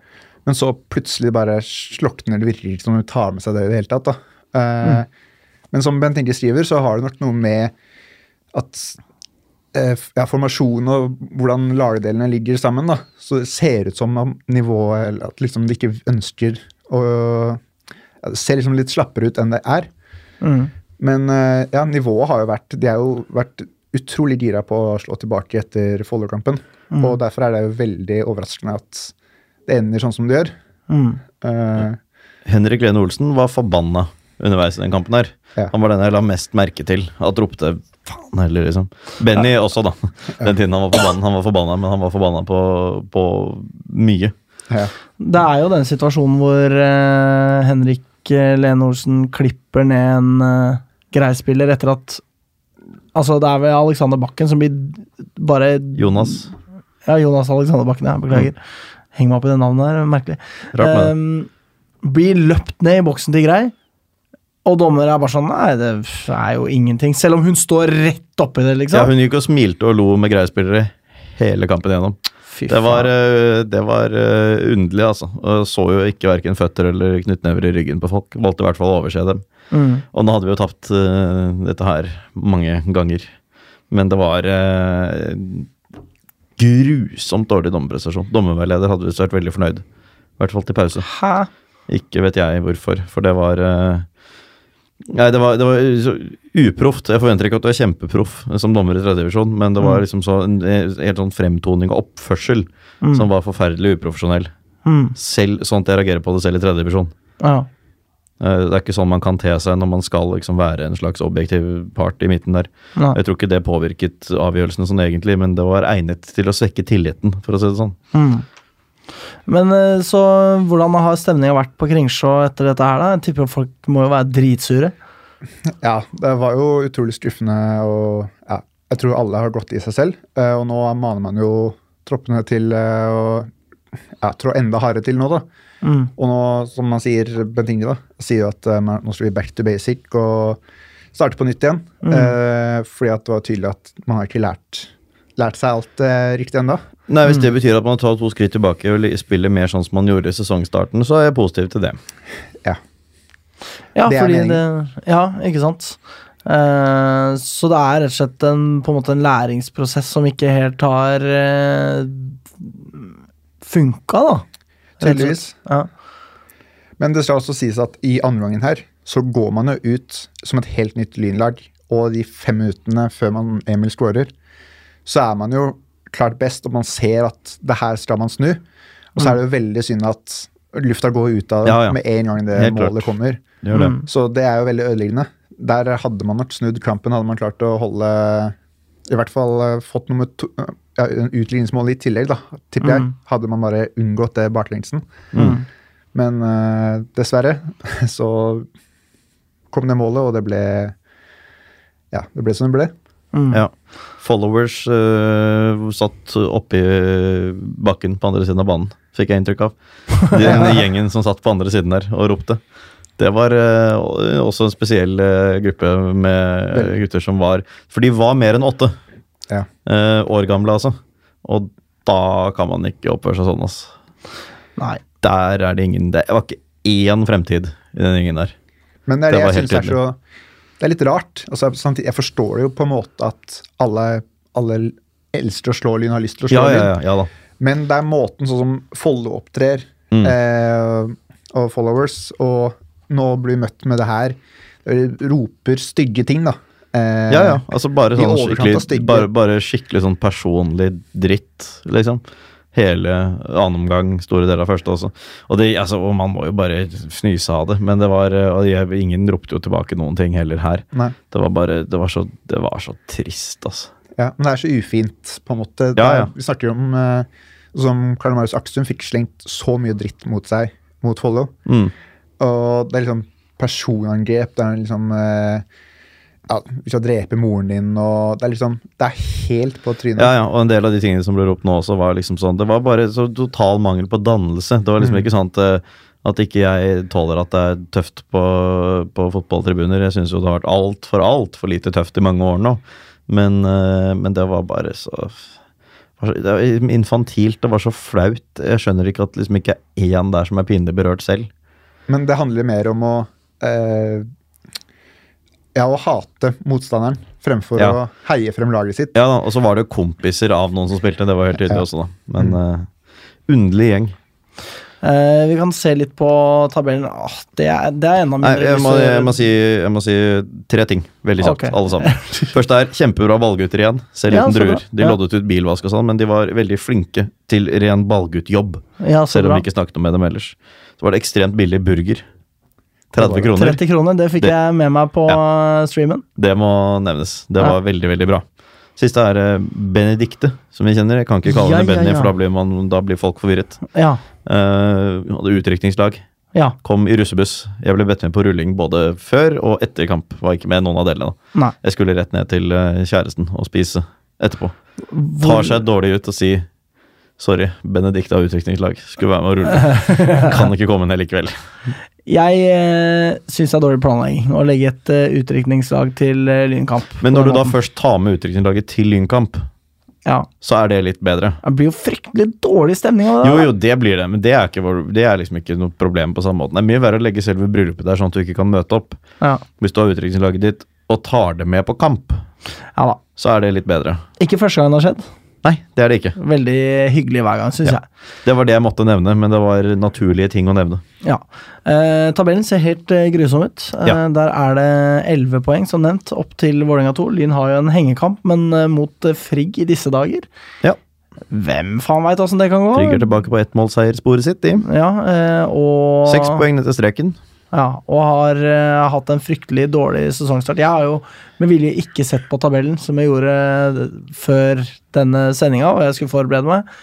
C: Men så plutselig bare slokner det virker ikke som hun tar med seg det i det hele tatt. da. Eh, Men som Bent Inge skriver, så har det nok noe med at eh, f- ja, formasjonen og hvordan lagdelene ligger sammen, da. Så det ser ut som om nivået eller At liksom de ikke ønsker å ja, Det ser liksom litt slappere ut enn det er.
A: Mm.
C: Men eh, ja, nivået har jo vært De har jo vært utrolig gira på å slå tilbake etter Follo-kampen. Og derfor er det jo veldig overraskende at det ender sånn som det gjør.
A: Mm.
C: Eh,
B: Henrik Lene Olsen var forbanna underveis i den kampen her.
C: Ja.
B: Han var den jeg la mest merke til. At ropte faen heller, liksom. Benny også, da. Den tiden han var forbanna, han var forbanna men han var forbanna på, på mye.
C: ja.
A: Det er jo den situasjonen hvor eh, Henrik eh, Lene Olsen klipper ned en eh, greispiller etter at Altså, det er vel Alexander Bakken som blir d- bare
B: Jonas,
A: Ja, Jonas Alexander Bakken, ja. Beklager. Heng meg opp i det navnet her, merkelig.
B: Mm. rart med det.
A: Ehm, blir løpt ned i boksen til Grei, og dommer er bare sånn Nei, det er jo ingenting. Selv om hun står rett oppi det,
B: Ja,
A: liksom.
B: hun gikk og smilte og lo med greiespillere hele kampen igjennom.
A: Fy
B: Det var,
A: faen.
B: eh, det var eh, underlig, altså. Og Så jo ikke verken føtter eller knyttnever i ryggen på folk. Valgte i hvert fall å overse dem.
A: mm.
B: Og nå hadde vi jo tapt eh, dette her mange ganger. Men det var eh, grusomt dårlig dommerprestasjon. Dommerveileder hadde visst vært veldig fornøyd. I hvert fall til pause.
A: Hæ?
B: Ikke vet jeg hvorfor, for det var eh, Nei, det var, det var så uproft. Jeg forventer ikke at du er kjempeproff som dommer i tredjedivisjon, men det var
A: Mm.
B: liksom så en en helt sånn fremtoning og oppførsel
A: Mm.
B: som var forferdelig uprofesjonell.
A: Mm.
B: Selv sånn at jeg reagerer på det selv i tredjedivisjon.
A: Ja.
B: Uh, det er ikke sånn man kan te seg når man skal liksom være en slags objektiv part i midten der.
A: Nei.
B: Jeg tror ikke det påvirket avgjørelsen sånn egentlig, men det var egnet til å svekke tilliten, for å si det sånn.
A: Mm. Men eh, så hvordan har stemninga vært på Kringsjå etter dette her, da? Jeg tipper folk må jo være dritsure.
C: ja, det var jo utrolig skuffende, og ja, jeg tror alle har gått i seg selv. Eh, og nå maner man jo troppene til eh, å ja, trå enda hardere til nå, da.
A: Mm.
C: Og nå, som man sier, Bent Inge da, sier jo at eh, man, nå skal vi back to basic og starte på nytt igjen.
B: Mm.
C: Eh, fordi at det var tydelig at man har ikke lært, lært seg alt eh, riktig ennå.
B: Nei,
A: Mm.
B: Hvis det betyr at man tar to skritt tilbake og li- spiller mer sånn som man gjorde i sesongstarten, så er jeg positiv til det.
C: Ja.
A: Ja,
C: Det er
A: fordi det, ja, ikke sant? Eh, så det er rett og slett en, på en måte en læringsprosess som ikke helt har uh, funka, da. Rett og slett.
C: Tydeligvis.
A: Ja.
C: Men det skal også sies at i andre gangen her, så går man jo ut som et helt nytt lynlag. Og de fem minuttene før man Emil scorer, så er man jo klart best, og man ser at det her skal man snu. Og så er det jo veldig synd at lufta går ut av det
B: Mm. Ja, ja.
C: med en gang det
B: Helt klart.
C: målet kommer.
B: Det gjør det.
C: Så det er jo veldig ødeleggende. Der hadde man nok snudd kampen, hadde man klart å holde I hvert fall eh, fått nummer to eh, ja, utligningsmålet i tillegg, da, tipper
B: Mm.
C: jeg. Hadde man bare unngått det baklengsen.
A: Mm.
C: Men eh, dessverre så kom det målet, og det ble Ja, det ble som det ble.
A: Mm.
B: Ja. Followers eh, satt oppi bakken på andre siden av banen, fikk jeg inntrykk av. Den gjengen som satt på andre siden der og ropte. Det var eh, også en spesiell eh, gruppe med
C: Veldig.
B: gutter som var For de var mer enn åtte
C: Ja.
B: eh, år gamle, altså. Og da kan man ikke oppføre seg sånn, altså.
A: Nei.
B: Der er det ingen Det var ikke én fremtid i den gjengen der.
C: Men det er
B: Det
C: det,
B: var
C: jeg
B: helt
C: synes er så Det er litt rart. Altså, samtidig, jeg forstår det jo på en måte at alle, alle elsker å slå lyn, har lyst til å slå
B: Ja,
C: lyn.
B: ja, ja, ja da.
C: Men det er måten sånn som Follo opptrer,
B: Mm.
C: eh, og followers, og nå blir møtt med det her. De roper stygge ting, da. Eh,
B: Ja, ja. Altså bare
C: i
B: sånn
C: overkant av
B: skikkelig,
C: stygge.
B: bare, bare skikkelig sånn personlig dritt, liksom. Hele annen omgang, store deler av første også. Og, det, altså, og man må jo bare fnyse av det, men det var eh, og jeg, Ingen ropte jo tilbake noen ting heller her.
C: Nei,
B: Det var bare Det var så, det var så trist, altså.
C: ja. Men det er så ufint, på en måte. Det
B: Ja,
C: er-
B: ja.
C: Vi snakker om eh, som Karl Marius Aksum fikk slengt så mye dritt mot seg, mot Follo.
B: Mm.
C: Og det er liksom personangrep. Det er liksom eh, ja, Vi skal drepe moren din, og Det er liksom Det er helt på trynet.
B: Ja, ja, og en del av de tingene som ble ropt nå også, var liksom sånn Det var bare så total mangel på dannelse. Det var liksom ikke sånn at, eh, at ikke jeg tåler at det er tøft på, på fotballtribuner. Jeg syns jo det har vært altfor, altfor lite tøft i mange år nå. Men, eh, men det var bare så var så- det var infantilt, det var så flaut. Jeg skjønner ikke at liksom ikke er én der som er pinlig berørt selv.
C: Men det handler mer om å eh, Ja, å hate motstanderen fremfor
B: Ja.
C: å heie frem laget sitt.
B: Ja da, Og så var det jo kompiser av noen som spilte, det var helt tydelig
C: Ja.
B: også, da. Men eh, underlig gjeng.
A: Eh, vi kan se litt på tabellen. Åh, det, er, det er enda
B: Nei,
A: mindre
B: jeg må,
A: hvis du-
B: jeg, må si, jeg må si tre ting. Veldig
A: Ok.
B: kjapt, alle sammen. Først er kjempebra ballgutter igjen. Selv
A: Ja,
B: uten
A: så bra.
B: druer. De
A: Ja.
B: loddet ut bilvask og sånn, men de var veldig flinke til ren ballguttjobb.
A: ja, så
B: Selv om
A: bra.
B: vi ikke snakket noe med dem ellers. Så var det ekstremt billig burger. 30 kroner.
A: 30 kroner, det fikk
B: Det-
A: jeg med meg på eh, streamen.
B: Det må nevnes. Det var veldig, veldig bra. Siste er eh, Benedicte, som vi kjenner. Jeg kan ikke kalle
A: Ja,
B: henne
A: ja,
B: Benny,
A: ja.
B: for da blir, man, da blir folk forvirret.
A: Ja,
B: Eh, Hun hadde utdrikningslag.
A: ja,
B: Kom i russebuss. Jeg ble bedt med på rulling både før og etter kamp. Var ikke med noen av delene. da.
A: nei.
B: Jeg skulle rett ned til eh, kjæresten og spise etterpå.
A: Hvor-
B: Tar seg dårlig ut og sier Sorry, Benedikt av utdrikningslag. Skulle være med å rulle. Kan ikke komme ned likevel.
A: Jeg eh, syns det er dårlig planlegging å legge et uh, utrykningslag til eh, Lynkamp.
B: Men
A: på
B: når du
A: den
B: da
A: måten.
B: først tar med utdrikningslaget til Lynkamp,
A: Ja,
B: så er det litt bedre.
A: Det blir jo fryktelig dårlig stemning av det.
B: Jo,
A: da.
B: jo, det blir det, men det er, ikke, vår- det er liksom ikke noe problem på samme måten. Det er mye verre å legge selve bryllupet der, sånn at du ikke kan møte opp.
A: Ja.
B: Hvis du har utdrikningslaget ditt og tar det med på kamp,
A: ja da.
B: så er det litt bedre.
A: Ikke første gang det har skjedd.
B: Nei, det er det ikke.
A: Veldig hyggelig hver gang, syns
B: Ja.
A: jeg.
B: Det var det jeg måtte nevne, men det var naturlige ting å nevne.
A: Ja. Eh, tabellen ser helt eh, grusom ut. Eh,
B: Ja.
A: Der er det 11 poeng, som nevnt, opp til Vålerenga 2. Lyn har jo en hengekamp, men eh, mot eh, Frigg i disse dager.
B: Ja.
A: Hvem faen veit åssen det kan gå?
B: Trygger tilbake på ettmålseiersporet sitt, de.
A: Ja, eh, og
B: Seks poeng ned til streken.
A: Ja, og har eh, hatt en fryktelig dårlig sesongstart. Jeg har jo med vilje ikke sett på tabellen, som jeg gjorde eh, før denne sendinga, og jeg skulle forberede meg.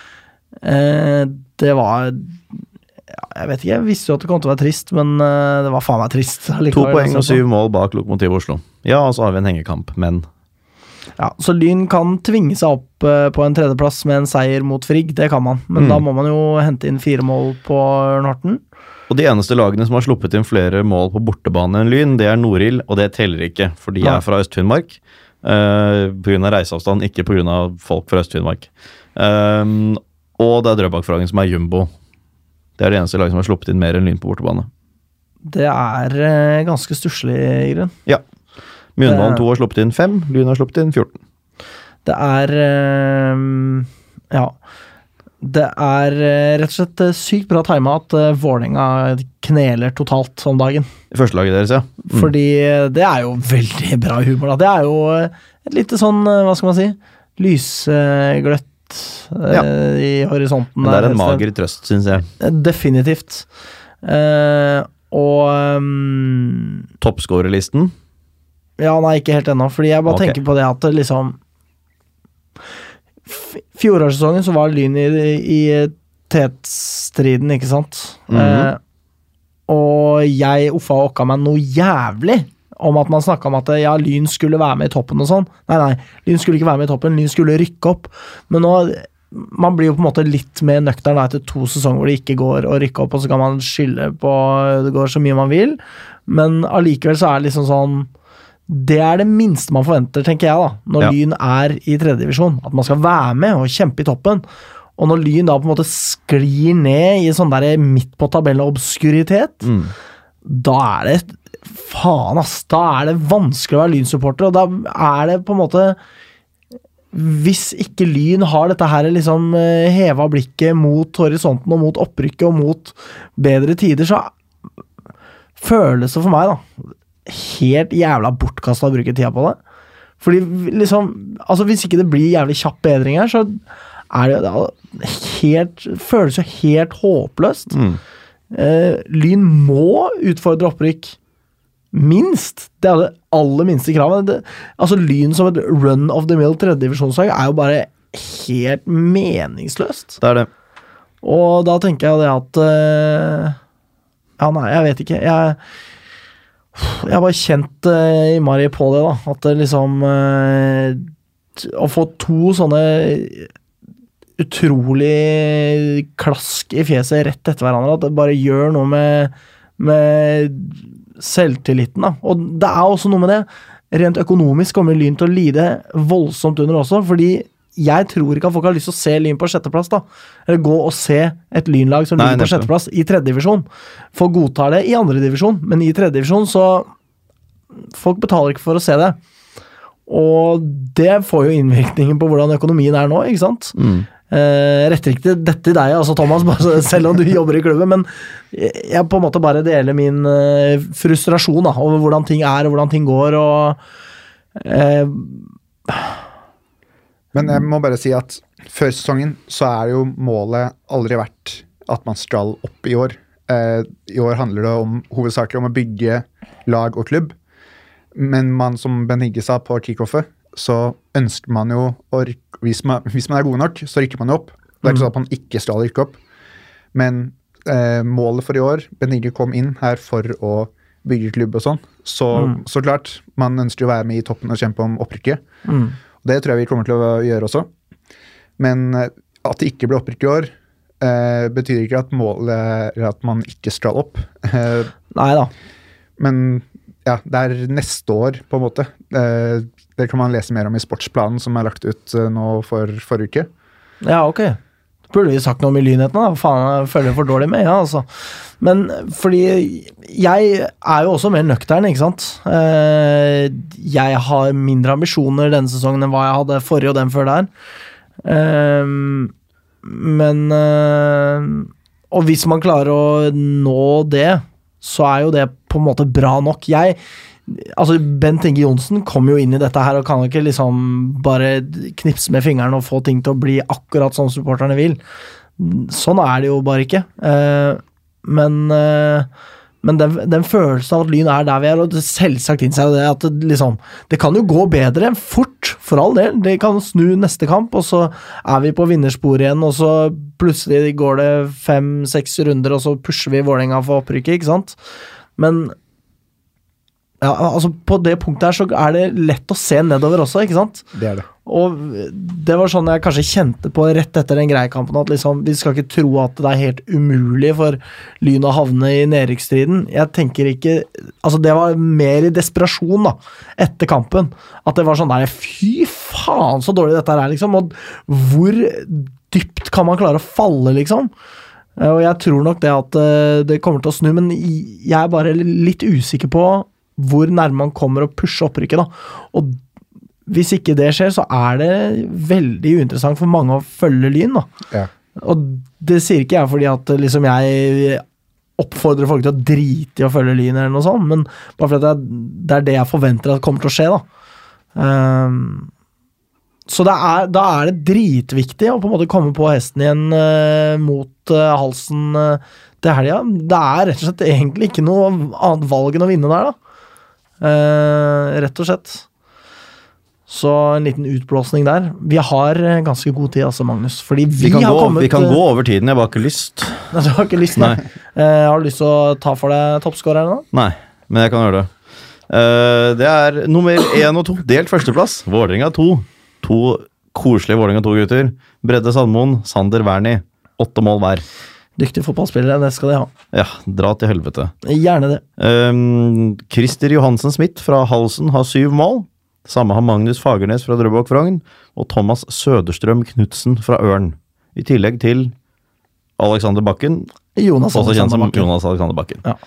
A: Eh, det var ja, Jeg vet ikke, jeg visste jo at det kom til å være trist, men eh, det var faen meg trist.
B: To
A: allikevel,
B: poeng og
A: altså.
B: syv mål bak Lokomotiv Oslo. Ja, og så har vi en hengekamp, men
A: Ja, så Lyn kan tvinge seg opp eh, på en tredjeplass med en seier mot Frigg, det kan man. Men
B: Mm.
A: da må man jo hente inn fire mål på Ørn Horten.
B: Og de eneste lagene som har sluppet inn flere mål på bortebane enn Lyn, det er Norild, og det teller ikke, for de
A: Nei.
B: er fra Øst-Finnmark. Uh, pga. reiseavstand, ikke pga. folk fra Øst-Finnmark. Ehm, og det er Drøbak-Fragen som er jumbo. Det er det eneste laget som har sluppet inn mer enn Lyn på bortebane.
A: Det er eh, ganske stusslig, i grunn.
B: Ja. Mjøndalen
A: Det-
B: 2 har sluppet inn 5, Lyn har sluppet inn 14.
A: Det er ehm, Ja. Det er eh, rett og slett eh, sykt bra tima at eh, Vålerenga kneler totalt om dagen.
B: Førstelaget deres, ja. Mm.
A: Fordi eh, det er jo veldig bra humor, da. Det er jo eh, et lite sånn, eh, hva skal man si, lysgløtt langt eh,
B: Ja.
A: i horisonten.
B: Men det er en
A: der et sted.
B: mager trøst, syns jeg.
A: Definitivt. Eh, og ehm,
B: Toppskårerlisten.
A: Ja, nei, ikke helt ennå, fordi jeg bare
B: Ok.
A: tenker på det at det liksom f- Fjorårssesongen så var Lyn i, i tetstriden, ikke sant?
B: Mhm.
A: eh, og jeg offa og okka meg noe jævlig om at man snakka om at ja, Lyn skulle være med i toppen og sånn. Nei, nei, Lyn skulle ikke være med i toppen, Lyn skulle rykke opp. Men nå man blir jo på en måte litt mer nøktern da, etter to sesonger hvor det ikke går å rykke opp, og så kan man skylde på det går så mye man vil, men allikevel så er det liksom sånn Det er det minste man forventer, tenker jeg, da, når
B: Ja.
A: Lyn er i tredjedivisjon. At man skal være med og kjempe i toppen. Og når Lyn da på en måte sklir ned i sånn der midt på tabellen obskuritet,
B: Mm.
A: da er det Faen, ass! Da er det vanskelig å være Lyn-supporter, og da er det på en måte Hvis ikke Lyn har dette her liksom eh, heva blikket mot horisonten og mot opprykket og mot bedre tider, så føles det for meg, da, helt jævla bortkasta å bruke tida på det. Fordi vi- liksom Altså, hvis ikke det blir jævlig kjapp bedring her, så er det da helt Føles jo helt håpløst.
B: Mm.
A: Eh, Lyn må utfordre opprykk. Minst! Det er det aller minste kravet. Det, altså Lyn som et run of the mill tredjedivisjonslag er jo bare helt meningsløst.
B: Det er det.
A: Og da tenker jeg det at eh, Ja, nei, jeg vet ikke. Jeg jeg har bare kjent eh, innmari på det, da. At det liksom eh, t- Å få to sånne utrolig klask i fjeset rett etter hverandre, at det bare gjør noe med, med selvtilliten, da. Og det er også noe med det. Rent økonomisk kommer Lyn til å lide voldsomt under også, fordi jeg tror ikke at folk har lyst til å se Lyn på sjetteplass, da. Eller gå og se et Lynlag som
B: Nei,
A: ligger på
B: nettopp.
A: sjetteplass i tredjedivisjon. Folk godtar det i andredivisjon, men i tredjedivisjon så Folk betaler ikke for å se det. Og det får jo innvirkningen på hvordan økonomien er nå, ikke sant?
B: Mm.
A: Eh, retter ikke til dette i deg, altså, Thomas, bare så- selv om du jobber i klubben, men jeg jeg på en måte bare deler min eh, frustrasjon da, over hvordan ting er og hvordan ting går. og eh,
C: Men jeg må bare si at før sesongen så er jo målet aldri vært at man skal opp i år. Eh, I år handler det om, hovedsakelig om å bygge lag og klubb. Men man, som Ben Higge sa på kickoffet, så ønsker man jo å rykke hvis man, hvis man er gode nok, så rykker man jo opp. Det er ikke sånn at man ikke skal rykke opp. Men eh, målet for i år Ben Higge kom inn her for å bygge klubb og sånn. Så, så klart, man ønsker å være med i toppen og kjempe om opprykket.
A: mm.
C: Og det tror jeg vi kommer til å gjøre også. Men eh, at det ikke blir opprykk i år, eh, betyr ikke at målet er at man ikke skal opp. Eh,
A: nei da.
C: men ja, det er neste år, på en måte. Eh, det kan man lese mer om i sportsplanen som er lagt ut eh, nå for forrige uke.
A: Ja, ok. Burde vi sagt noe om i lynheten, da? Faen, jeg følger for dårlig med, ja, altså. Men fordi jeg er jo også mer nøktern, ikke sant. Eh, Jeg har mindre ambisjoner denne sesongen enn hva jeg hadde forrige og den før der. Eh, Men eh, Og hvis man klarer å nå det, så er jo det på en måte bra nok. Jeg Altså, Bent Inge Johnsen kom jo inn i dette her og kan ikke liksom bare knipse med fingeren og få ting til å bli akkurat som supporterne vil. Sånn er det jo bare ikke. Eh, men eh, men den, den følelsen av at Lyn er der vi er, og det selvsagt innser jo det at det, liksom, det kan jo gå bedre fort, for all del. Det kan snu neste kamp, og så er vi på vinnersporet igjen, og så plutselig går det fem-seks runder, og så pusher vi Vålerenga for opprykket, ikke sant? Men ja, altså på det punktet her så er det lett å se nedover også, ikke sant?
C: Det er det.
A: Og det var sånn jeg kanskje kjente på rett etter den greiekampen, at liksom, vi skal ikke tro at det er helt umulig for Lyn å havne i nedrykksstriden. Jeg tenker ikke Altså, det var mer i desperasjon, da, etter kampen. At det var sånn der Fy faen, så dårlig dette her er, liksom. Og hvor dypt kan man klare å falle, liksom? Eh, Og jeg tror nok det at eh, det kommer til å snu, men i- jeg er bare litt usikker på hvor nærme man kommer å pushe opprykket, da. Og hvis ikke det skjer, så er det veldig uinteressant for mange å følge Lyn. da.
C: Ja.
A: Og det sier ikke jeg fordi at eh, liksom jeg oppfordrer folk til å drite i å følge Lyn, eller noe sånt, men bare fordi at det er- det er det jeg forventer at kommer til å skje. da. Ehm, Så det er, da er det dritviktig å på en måte komme på hesten igjen eh, mot eh, halsen eh, til helga. Det er rett og slett egentlig ikke noe annet valg enn å vinne der, da. Eh, rett og slett. Så en liten utblåsning der. Vi har eh, ganske god tid, altså, Magnus. Fordi vi,
B: Vi kan,
A: har
B: gå,
A: kommet
B: vi kan
A: eh,
B: gå over tiden, jeg har bare ikke lyst.
A: Nei, du har ikke lyst, nei.
B: Nei.
A: Eh, har du lyst til å ta for deg toppskåreren, da?
B: Nei, men jeg kan gjøre det. Eh, det er nummer én og to. Delt førsteplass. Vålerenga 2. To koselige Vålerenga 2-gutter. Bredde Sandmoen, Sander Wernie. Åtte mål hver.
A: Dyktige fotballspillere, det skal de ha.
B: Ja, dra til helvete.
A: Gjerne det.
B: Um, Christer Johansen Smith fra Halsen har syv mål. Samme har Magnus Fagernes fra Drøbak Frogn og Thomas Søderstrøm Knutsen fra Ørn. I tillegg til Alexander Bakken,
A: Jonas
B: også kjent som
A: Bakken.
B: Jonas Alexander Bakken.
A: Ja.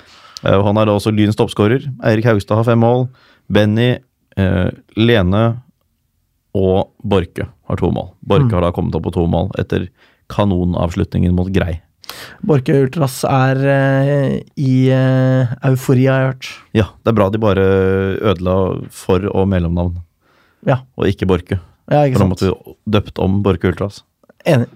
B: Eh, og han er da også Lyns toppskårer. Eirik Haugstad har fem mål. Benny, eh, Lene og Borke har to mål. Borke har da kommet opp på to mål etter kanonavslutningen mot Grei.
A: Borke Ultras er eh, i eh, eufori, har jeg hørt.
B: Ja, det er bra de bare ødela for- og mellomnavn,
A: Ja,
B: og ikke Borke.
A: ja
B: For
A: ikke
B: da
A: sant.
B: måtte vi døpt om Borke Ultras.
A: Enig.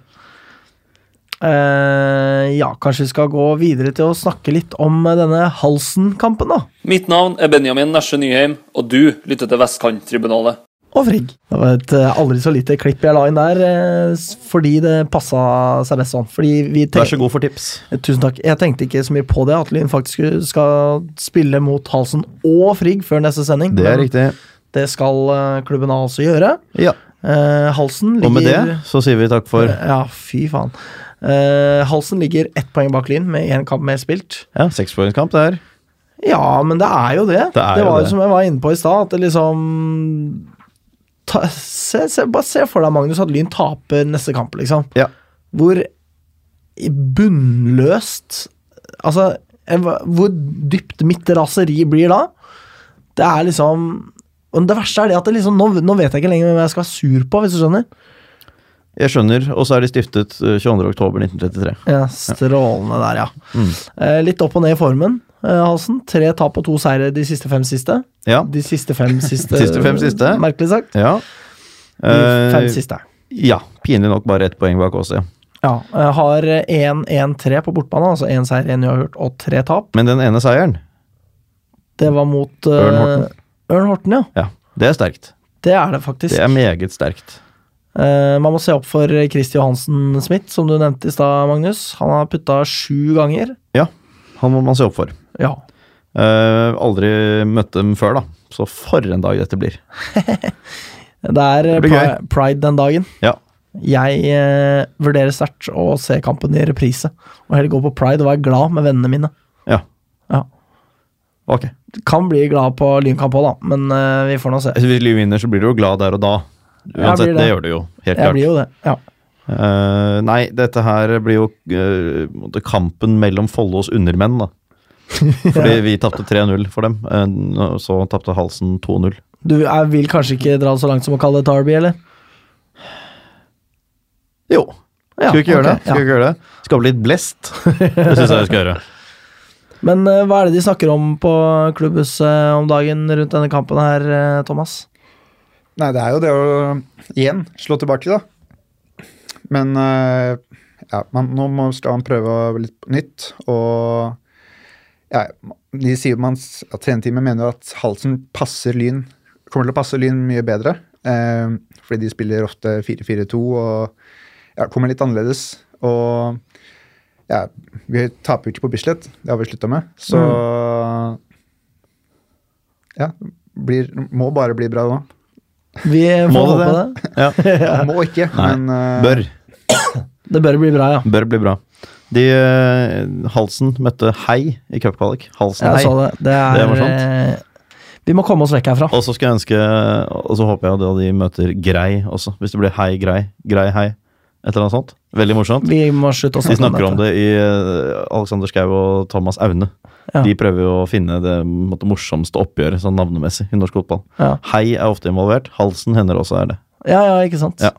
A: Eh, ja, kanskje vi skal gå videre til å snakke litt om eh, denne Halsen-kampen, da.
F: Mitt navn er Benjamin Nesje Nyheim, og du lytter til Vestkanttribunalet.
A: Og Frigg. Det var et eh, aldri så lite klipp jeg la inn der, eh, s- fordi det passa seg best sånn. Fordi vi
B: Vær
A: tenk-
B: så god for tips.
A: Eh, Tusen takk. Jeg tenkte ikke så mye på det, at Lyn faktisk skal spille mot Halsen og Frigg før neste sending.
B: Det er
A: Men
B: riktig.
A: Det skal eh, klubben A også gjøre.
B: Ja.
A: Eh, Halsen ligger
B: Og med det så sier vi takk for
A: Ja, fy faen. Eh, Halsen ligger ett poeng bak Lyn, med én kamp mer spilt.
B: ja, sekspoengskamp, det her.
A: Ja, men det er jo det.
B: Det er jo
A: var
B: det.
A: som jeg var inne på i stad, at det liksom ta, se, se, Bare se for deg, Magnus, at Lyn taper neste kamp, liksom.
B: Ja.
A: Hvor i- bunnløst Altså, jeg va- hvor dypt mitt raseri blir da? Det er liksom men Det verste er det at det liksom, nå, nå vet jeg ikke lenger hvem jeg skal være sur på, hvis du skjønner.
B: Jeg skjønner. Og så er de stiftet eh, 22. oktober 1933.
A: Ja, Strålende der, ja.
B: Mm.
A: Eh, litt opp og ned i formen, eh, Halsen. Tre tap og to seire de siste fem siste.
B: Ja.
A: De siste fem siste,
B: Siste fem siste.
A: merkelig sagt.
B: Ja.
A: De fem
B: Eh,
A: siste.
B: ja. Pinlig nok bare ett poeng bak oss, ja.
A: Ja, eh, har 1-1-3 på bortbane, altså én seier, én uavgjort og tre tap.
B: Men den ene seieren,
A: Det var mot eh,
B: Ørn Horten.
A: Ørn Horten, ja.
B: ja. Det er sterkt.
A: Det er det faktisk.
B: Det er meget sterkt.
A: Eh, man må se opp for Kristi Johansen Smith, som du nevnte i stad, Magnus. Han har putta sju ganger.
B: Ja. Han må man se opp for.
A: Ja.
B: Eh, aldri møtt dem før, da. Så for en dag dette blir.
A: Det er eh,
B: Det blir
A: pri- pride den dagen.
B: Ja.
A: Jeg eh, vurderer sterkt å se kampen i reprise, og heller gå på pride og være glad med vennene mine.
B: Ja.
A: Ja.
B: Ok.
A: Kan bli glad på lynkamp òg, da, men eh, vi får nå se.
B: Altså, hvis Liv vinner, så blir du jo glad der og da. Uansett,
A: blir
B: det.
A: det.
B: gjør du jo. Helt
A: Jeg
B: klart.
A: blir jo det. Ja.
B: Eh, nei, dette her blir jo eh, på en måte kampen mellom Follos undermenn, da. Fordi vi tapte 3-0 for dem, eh, og så tapte Halsen 2-0.
A: Du jeg vil kanskje ikke dra så langt som å kalle det Derby, eller?
B: Jo.
A: Ja,
B: Skal vi ikke
A: ok,
B: gjøre det? Skal vi
A: ja.
B: ikke gjøre det? Skape litt blest. Det syns jeg vi skal gjøre.
A: Men eh, hva er det de snakker om på klubbhuset om dagen rundt denne kampen her, eh, Thomas?
C: Nei, det er jo det å igjen slå tilbake, da. Men eh, ja, man, nå må, skal man prøve å- litt på nytt, og ja, de sier man, s- at trenerteamet mener at Halsen passer Lyn, kommer til å passe Lyn mye bedre, eh, fordi de spiller ofte 4-4-2 og ja, kommer litt annerledes. Og ja, vi taper jo ikke på Bislett, det har vi slutta med, så ja, blir, må bare bli bra nå.
A: Vi
B: Må
A: får
B: det
A: håpe det.
B: det? Ja.
C: Må ikke,
B: Nei.
C: men eh,
B: Bør.
A: Det bør bli bra, ja.
B: Bør bli bra. De, eh, Halsen møtte Hei i cupkvalik. Halsen
A: Jeg
B: Hei.
A: så det. Det er
B: Det var sant.
A: eh, Vi må komme oss vekk herfra.
B: Og så skal jeg ønske Og så håper jeg da de møter Grei også. Hvis det blir Hei Grei, Grei Hei. Et eller annet sånt. Veldig morsomt.
A: Vi må slutte å
B: De
A: snakke
B: snakker om
A: dette.
B: det i eh, Alexander Schou og Thomas Aune.
A: Ja.
B: De prøver jo å finne det på en måte, morsomste oppgjøret sånn navnemessig i norsk fotball.
A: Ja.
B: Hei er ofte involvert. Halsen hender også er det.
A: Ja, ja, ikke sant.
B: Ja.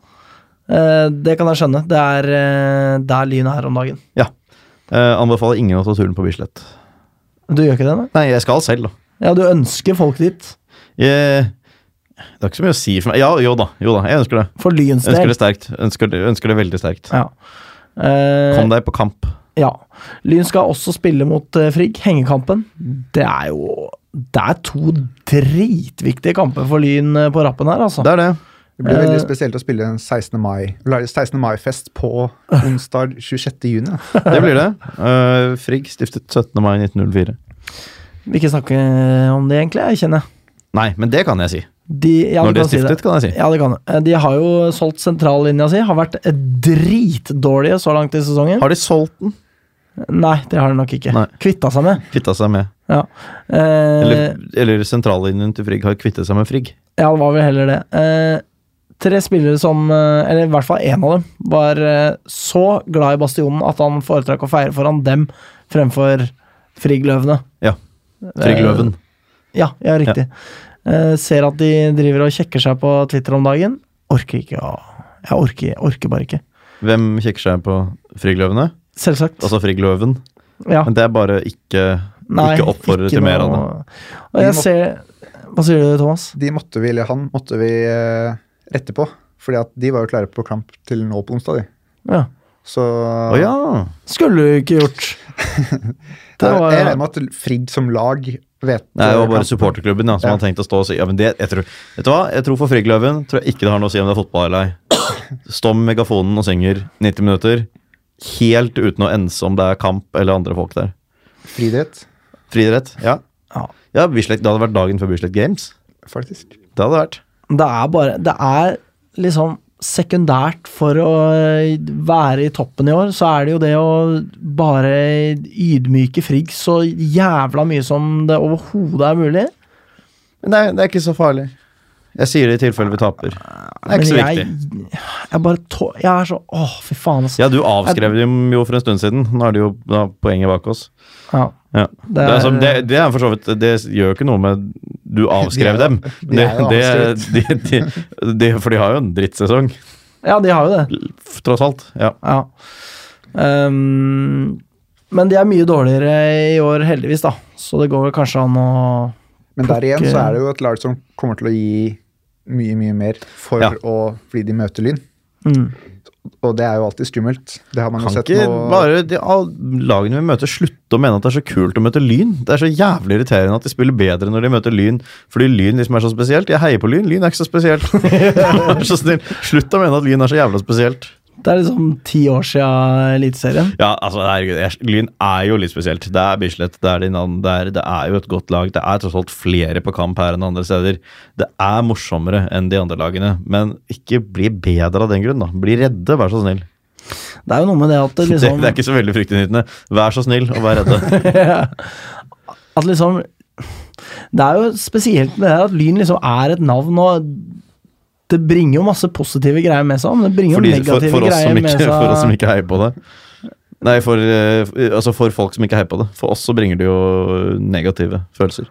A: Eh, det kan jeg skjønne. Det er eh, der lynet er om dagen.
B: Ja. Eh, anbefaler ingen å ta turen på Bislett.
A: Du gjør ikke det, nei?
B: Nei, jeg skal selv, da.
A: Ja, du ønsker folk dit.
B: Jeg, Det er ikke så mye å si for meg. Ja, jo da, jo da, jeg ønsker det.
A: For Lyns
B: Jeg ønsker
A: del.
B: det sterkt. Ønsker, det- ønsker det veldig sterkt.
A: Ja. Eh,
B: Kom deg på kamp.
A: ja. Lyn skal også spille mot eh, Frigg. Hengekampen. Det er jo Det er to dritviktige kamper for Lyn eh, på rappen her, altså.
B: Det er det.
C: Det blir
A: Eh,
C: veldig spesielt å spille en 16. mai lage 16. mai-fest på onsdag 26. juni. da.
B: Det blir det. Eh, Frigg stiftet 17. mai 1904.
A: Vi ikke snakke eh, om det, egentlig, jeg kjenner jeg.
B: Nei, men det kan jeg si.
A: De, ja,
B: Når
A: du
B: det
A: kan si
B: stiftet, kan jeg si.
A: Ja, det kan du. Eh, De har jo solgt sentrallinja si. Har vært eh, dritdårlige så langt i sesongen.
B: Har de solgt den?
A: Nei, det har de nok ikke.
B: Nei.
A: Kvitta seg med.
B: Kvitta seg med.
A: Ja. Eh,
B: Eller, eller sentrallinjen til Frigg har kvittet seg med Frigg.
A: Ja, det var vel heller det. Eh, tre spillere som, eh, eller i hvert fall én av dem, var eh, så glad i Bastionen at han foretrakk å feire foran dem fremfor Frigg-løvene.
B: Ja.
A: Eh.
B: Frigg Løven.
A: Ja, ja, riktig. Eh, ser at de driver og kjekker seg på Twitter om dagen. Orker ikke å Jeg orker, jeg orker bare ikke.
B: Hvem kikker seg på Frigg Løvene?
A: Selvsagt.
B: Altså Frigg Løven.
A: ja.
B: Men det er bare ikke, ikke oppfordre til mer av det.
A: Og jeg ser Hva sier du, Thomas?
C: De måtte vi, eller han måtte vi eh, rette på, fordi at de var jo klare på kamp til nå på onsdag. de.
A: Ja.
C: Så
B: Å ja!
A: Skulle du ikke gjort
C: det
A: Det var
C: jeg regner med at Frigg som lag vet eh,
B: Nei, det var bare
C: kampen.
B: supporterklubben ja, som
C: Ja.
B: hadde tenkt å stå og si ja, men det, jeg tror, Vet du hva, jeg tror for Friggløven tror jeg ikke det har noe å si om det er fotball eller ei. Stå med megafonen og synger 90 minutter, helt uten å ense om det er kamp eller andre folk der.
C: Friidrett,
B: Friidrett? Ja.
A: Ja.
B: ja Bislett, det hadde vært dagen før Bislett Games.
C: faktisk.
B: Det hadde vært.
A: Det er bare Det er liksom sekundært for å være i toppen i år, så er det jo det å bare ydmyke Frigg så jævla mye som det overhodet er mulig.
B: Men det er, det er ikke så farlig. Jeg sier det i tilfelle vi taper. Det er
A: Men
B: ikke så
A: jeg,
B: viktig.
A: jeg bare tå... Jeg er så Åh, fy faen, altså.
B: Ja, du avskrev dem jo for en stund siden. Nå er det jo da, poenget bak oss.
A: Ja.
B: Ja. Det,
A: Det
B: er,
A: er-
B: som- det, det er for så vidt Det gjør jo ikke noe med du avskrev
C: De er jo-
B: dem.
C: de er jo
B: Det- det- de, de, de, for de har jo en drittsesong,
A: ja, de har jo det.
B: f- tross alt. Ja.
A: Ja. Ehm, men de er mye dårligere i år, heldigvis, da. Så det går vel kanskje an å
C: Men der igjen
A: Plukke-
C: så er det jo et lag som kommer til å gi mye, mye mer for
B: Ja.
C: å fordi de møter Lyn.
A: mm.
C: Og det er jo alltid skummelt. Det har man
B: Kan
C: jo sett
B: ikke
C: nå.
B: bare de, all, lagene vi møter, slutte å mene at det er så kult å møte Lyn? Det er så jævlig irriterende at de spiller bedre når de møter Lyn, fordi Lyn liksom er så spesielt. Jeg heier på Lyn, Lyn er ikke så spesielt. Vær så snill, slutt å mene at Lyn er så jævla spesielt.
A: Det er liksom ti år siden Eliteserien.
B: Ja, altså, herregud, jeg, Lyn er jo litt spesielt. Det er Bislett, det er Linan, det er, det er jo et godt lag. Det er tross alt flere på kamp her enn andre steder. Det er morsommere enn de andre lagene, men ikke bli bedre av den grunn, da. Bli redde, vær så snill.
A: Det er jo noe med det at det
B: Det,
A: liksom
B: det er ikke så veldig fryktinngytende. Vær så snill og vær redde.
A: At liksom Det er jo spesielt med det her at Lyn liksom er et navn og det bringer jo masse positive greier med seg, men det bringer jo
B: Fordi, for,
A: negative
B: for, oss som
A: greier med
B: ikke,
A: seg.
B: for oss som ikke heier på det. Nei, for, eh, altså for folk som ikke heier på det. For oss så bringer det jo negative følelser.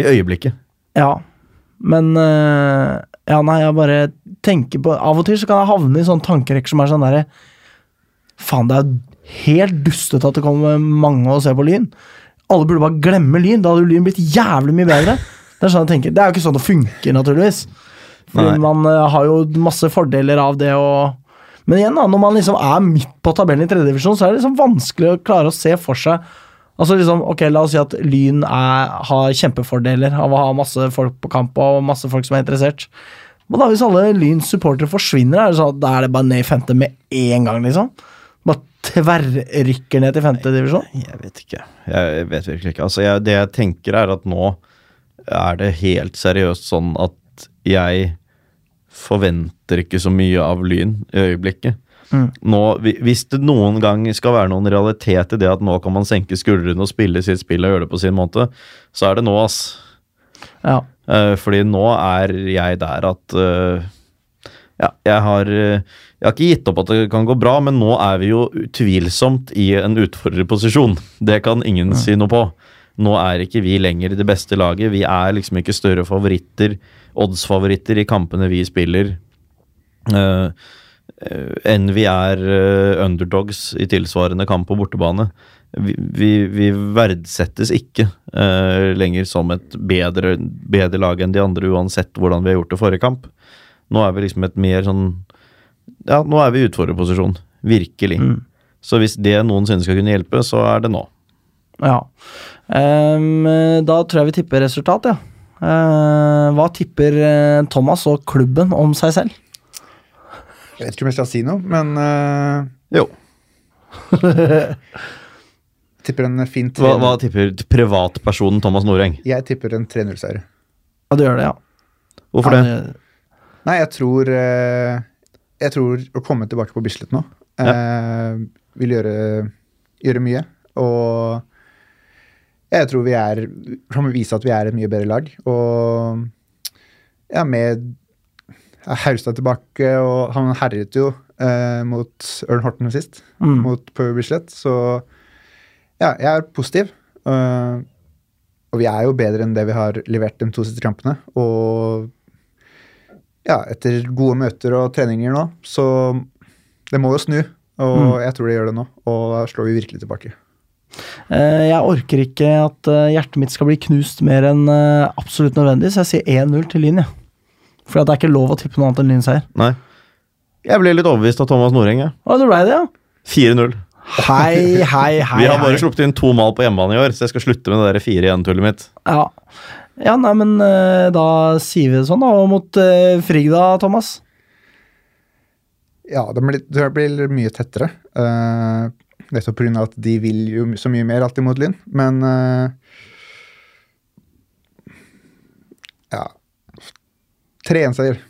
B: I øyeblikket.
A: Ja, men eh, Ja, nei, jeg bare tenker på Av og til så kan jeg havne i sånne tankerekker som er sånn derre Faen, det er helt dustete at det kommer mange og ser på Lyn. Alle burde bare glemme Lyn. Da hadde jo Lyn blitt jævlig mye bedre. Det er sånn jeg tenker. Det er jo ikke sånn det funker, naturligvis. Fordi
B: Nei.
A: man eh, har jo masse fordeler av det å Men igjen, da, når man liksom er midt på tabellen i tredje divisjon, så er det liksom vanskelig å klare å se for seg Altså liksom, ok, La oss si at Lyn er, har kjempefordeler av å ha masse folk på kamp og masse folk som er interessert. Men da hvis alle Lyns supportere forsvinner, er det sånn at da er det bare ned i femte med en gang, liksom? Bare tverrrykker ned til femte divisjon?
B: Jeg vet ikke. Jeg vet virkelig ikke. Altså, jeg, det jeg tenker, er at nå er det helt seriøst sånn at jeg forventer ikke så mye av Lyn i øyeblikket. Nå, hvi- hvis det noen gang skal være noen realitet i det at nå kan man senke skuldrene og spille sitt spill og gjøre det på sin måte, så er det nå, ass.
A: Ja.
B: Eh, fordi nå er jeg der at eh, ja, jeg har, eh, jeg har ikke gitt opp at det kan gå bra, men nå er vi jo utvilsomt i en utfordrerposisjon. Det kan ingen si noe på. Nå er ikke vi lenger det beste laget. Vi er liksom ikke større favoritter, oddsfavoritter, i kampene vi spiller. eh, eh, enn vi er eh, underdogs i tilsvarende kamp på bortebane. vi, vi, vi verdsettes ikke eh, lenger som et bedre, bedre lag enn de andre, uansett hvordan vi har gjort det forrige kamp. Nå er vi liksom et mer sånn Ja, nå er vi i utfordrerposisjon. Virkelig. Så hvis det noensinne skal kunne hjelpe, så er det nå.
A: Ja. Ehm, da tror jeg vi tipper resultat, ja. Eh, hva tipper eh, Thomas og klubben om seg selv?
C: Jeg vet ikke om jeg skal si noe, men eh,
B: Jo.
C: tipper en fin tre-
B: Hva, hva tipper privatpersonen Thomas Noreng?
C: Jeg tipper en 3-0-seier.
A: Ja, du gjør det, ja.
B: Hvorfor det?
C: Nei, jeg tror eh, Jeg tror å komme tilbake på Bislett nå eh, vil gjøre, gjøre mye. Og jeg tror vi er Kan vise at vi er et mye bedre lag. Og ja, med Haustad tilbake, og han herjet jo eh, mot Ørn Horten sist,
A: Mm.
C: mot på Bislett, så ja, jeg er positiv. Eh, og vi er jo bedre enn det vi har levert de to siste kampene. Og ja, etter gode møter og treninger nå, så det må jo snu. Og jeg tror det gjør det nå, og da slår vi virkelig tilbake.
A: Eh, jeg orker ikke at eh, hjertet mitt skal bli knust mer enn eh, absolutt nødvendig, så jeg sier 1-0 til Lyn, jeg. For det er ikke lov å tippe noe annet enn Lyn seier.
B: Nei. Jeg ble litt overbevist av Thomas Noreng. jeg.
A: Å, det ble det, ja?
B: 4-0.
A: Hei, hei, hei.
B: Vi har bare
A: hei.
B: sluppet inn to mal på hjemmebane i år, så jeg skal slutte med det 4-1-tullet mitt.
A: Ja. ja, nei, men eh, da sier vi det sånn, da. Og mot eh, Frigg da, Thomas?
C: Ja, det blir, det blir mye tettere. Uh, nettopp pga. at de vil jo my- så mye mer alltid mot Lyn, men eh, Ja. 3-1-seier.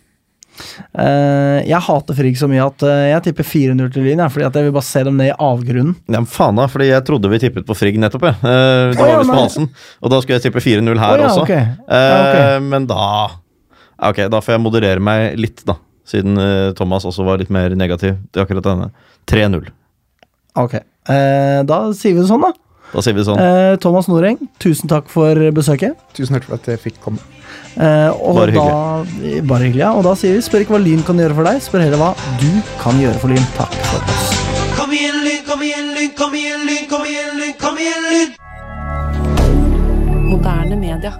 A: Eh, jeg hater Frigg så mye at eh, jeg tipper 4-0 til Lyn, jeg, fordi at jeg vil bare se dem ned i avgrunnen.
B: Ja, men faen da, fordi jeg trodde vi tippet på Frigg nettopp, jeg. Eh, Det
A: Å,
B: var
A: ja,
B: visst på
A: men-
B: halsen. Og da skulle jeg tippe 4-0
A: Å,
B: her
A: ja,
B: også.
A: ok.
B: Eh,
A: Ja,
B: Men da Ja, Ok, da får jeg moderere meg litt, da. Siden eh, Thomas også var litt mer negativ til akkurat denne. 3-0.
A: Ok. Eh, da sier vi det sånn, da.
B: Da sier vi det sånn.
A: Eh, Thomas Noreng, tusen takk for besøket.
C: Tusen takk for at jeg fikk komme.
A: Eh, og
B: Bare
A: Da, bare hyggelig, ja. Og da sier vi spør ikke hva Lyn kan gjøre for deg, spør heller hva du kan gjøre for Lyn. Takk for oss.
G: Kom igjen, Lyn, kom igjen, Lyn, kom igjen, Lyn, kom igjen, Lyn, kom igjen, Lyn!
H: Moderne media.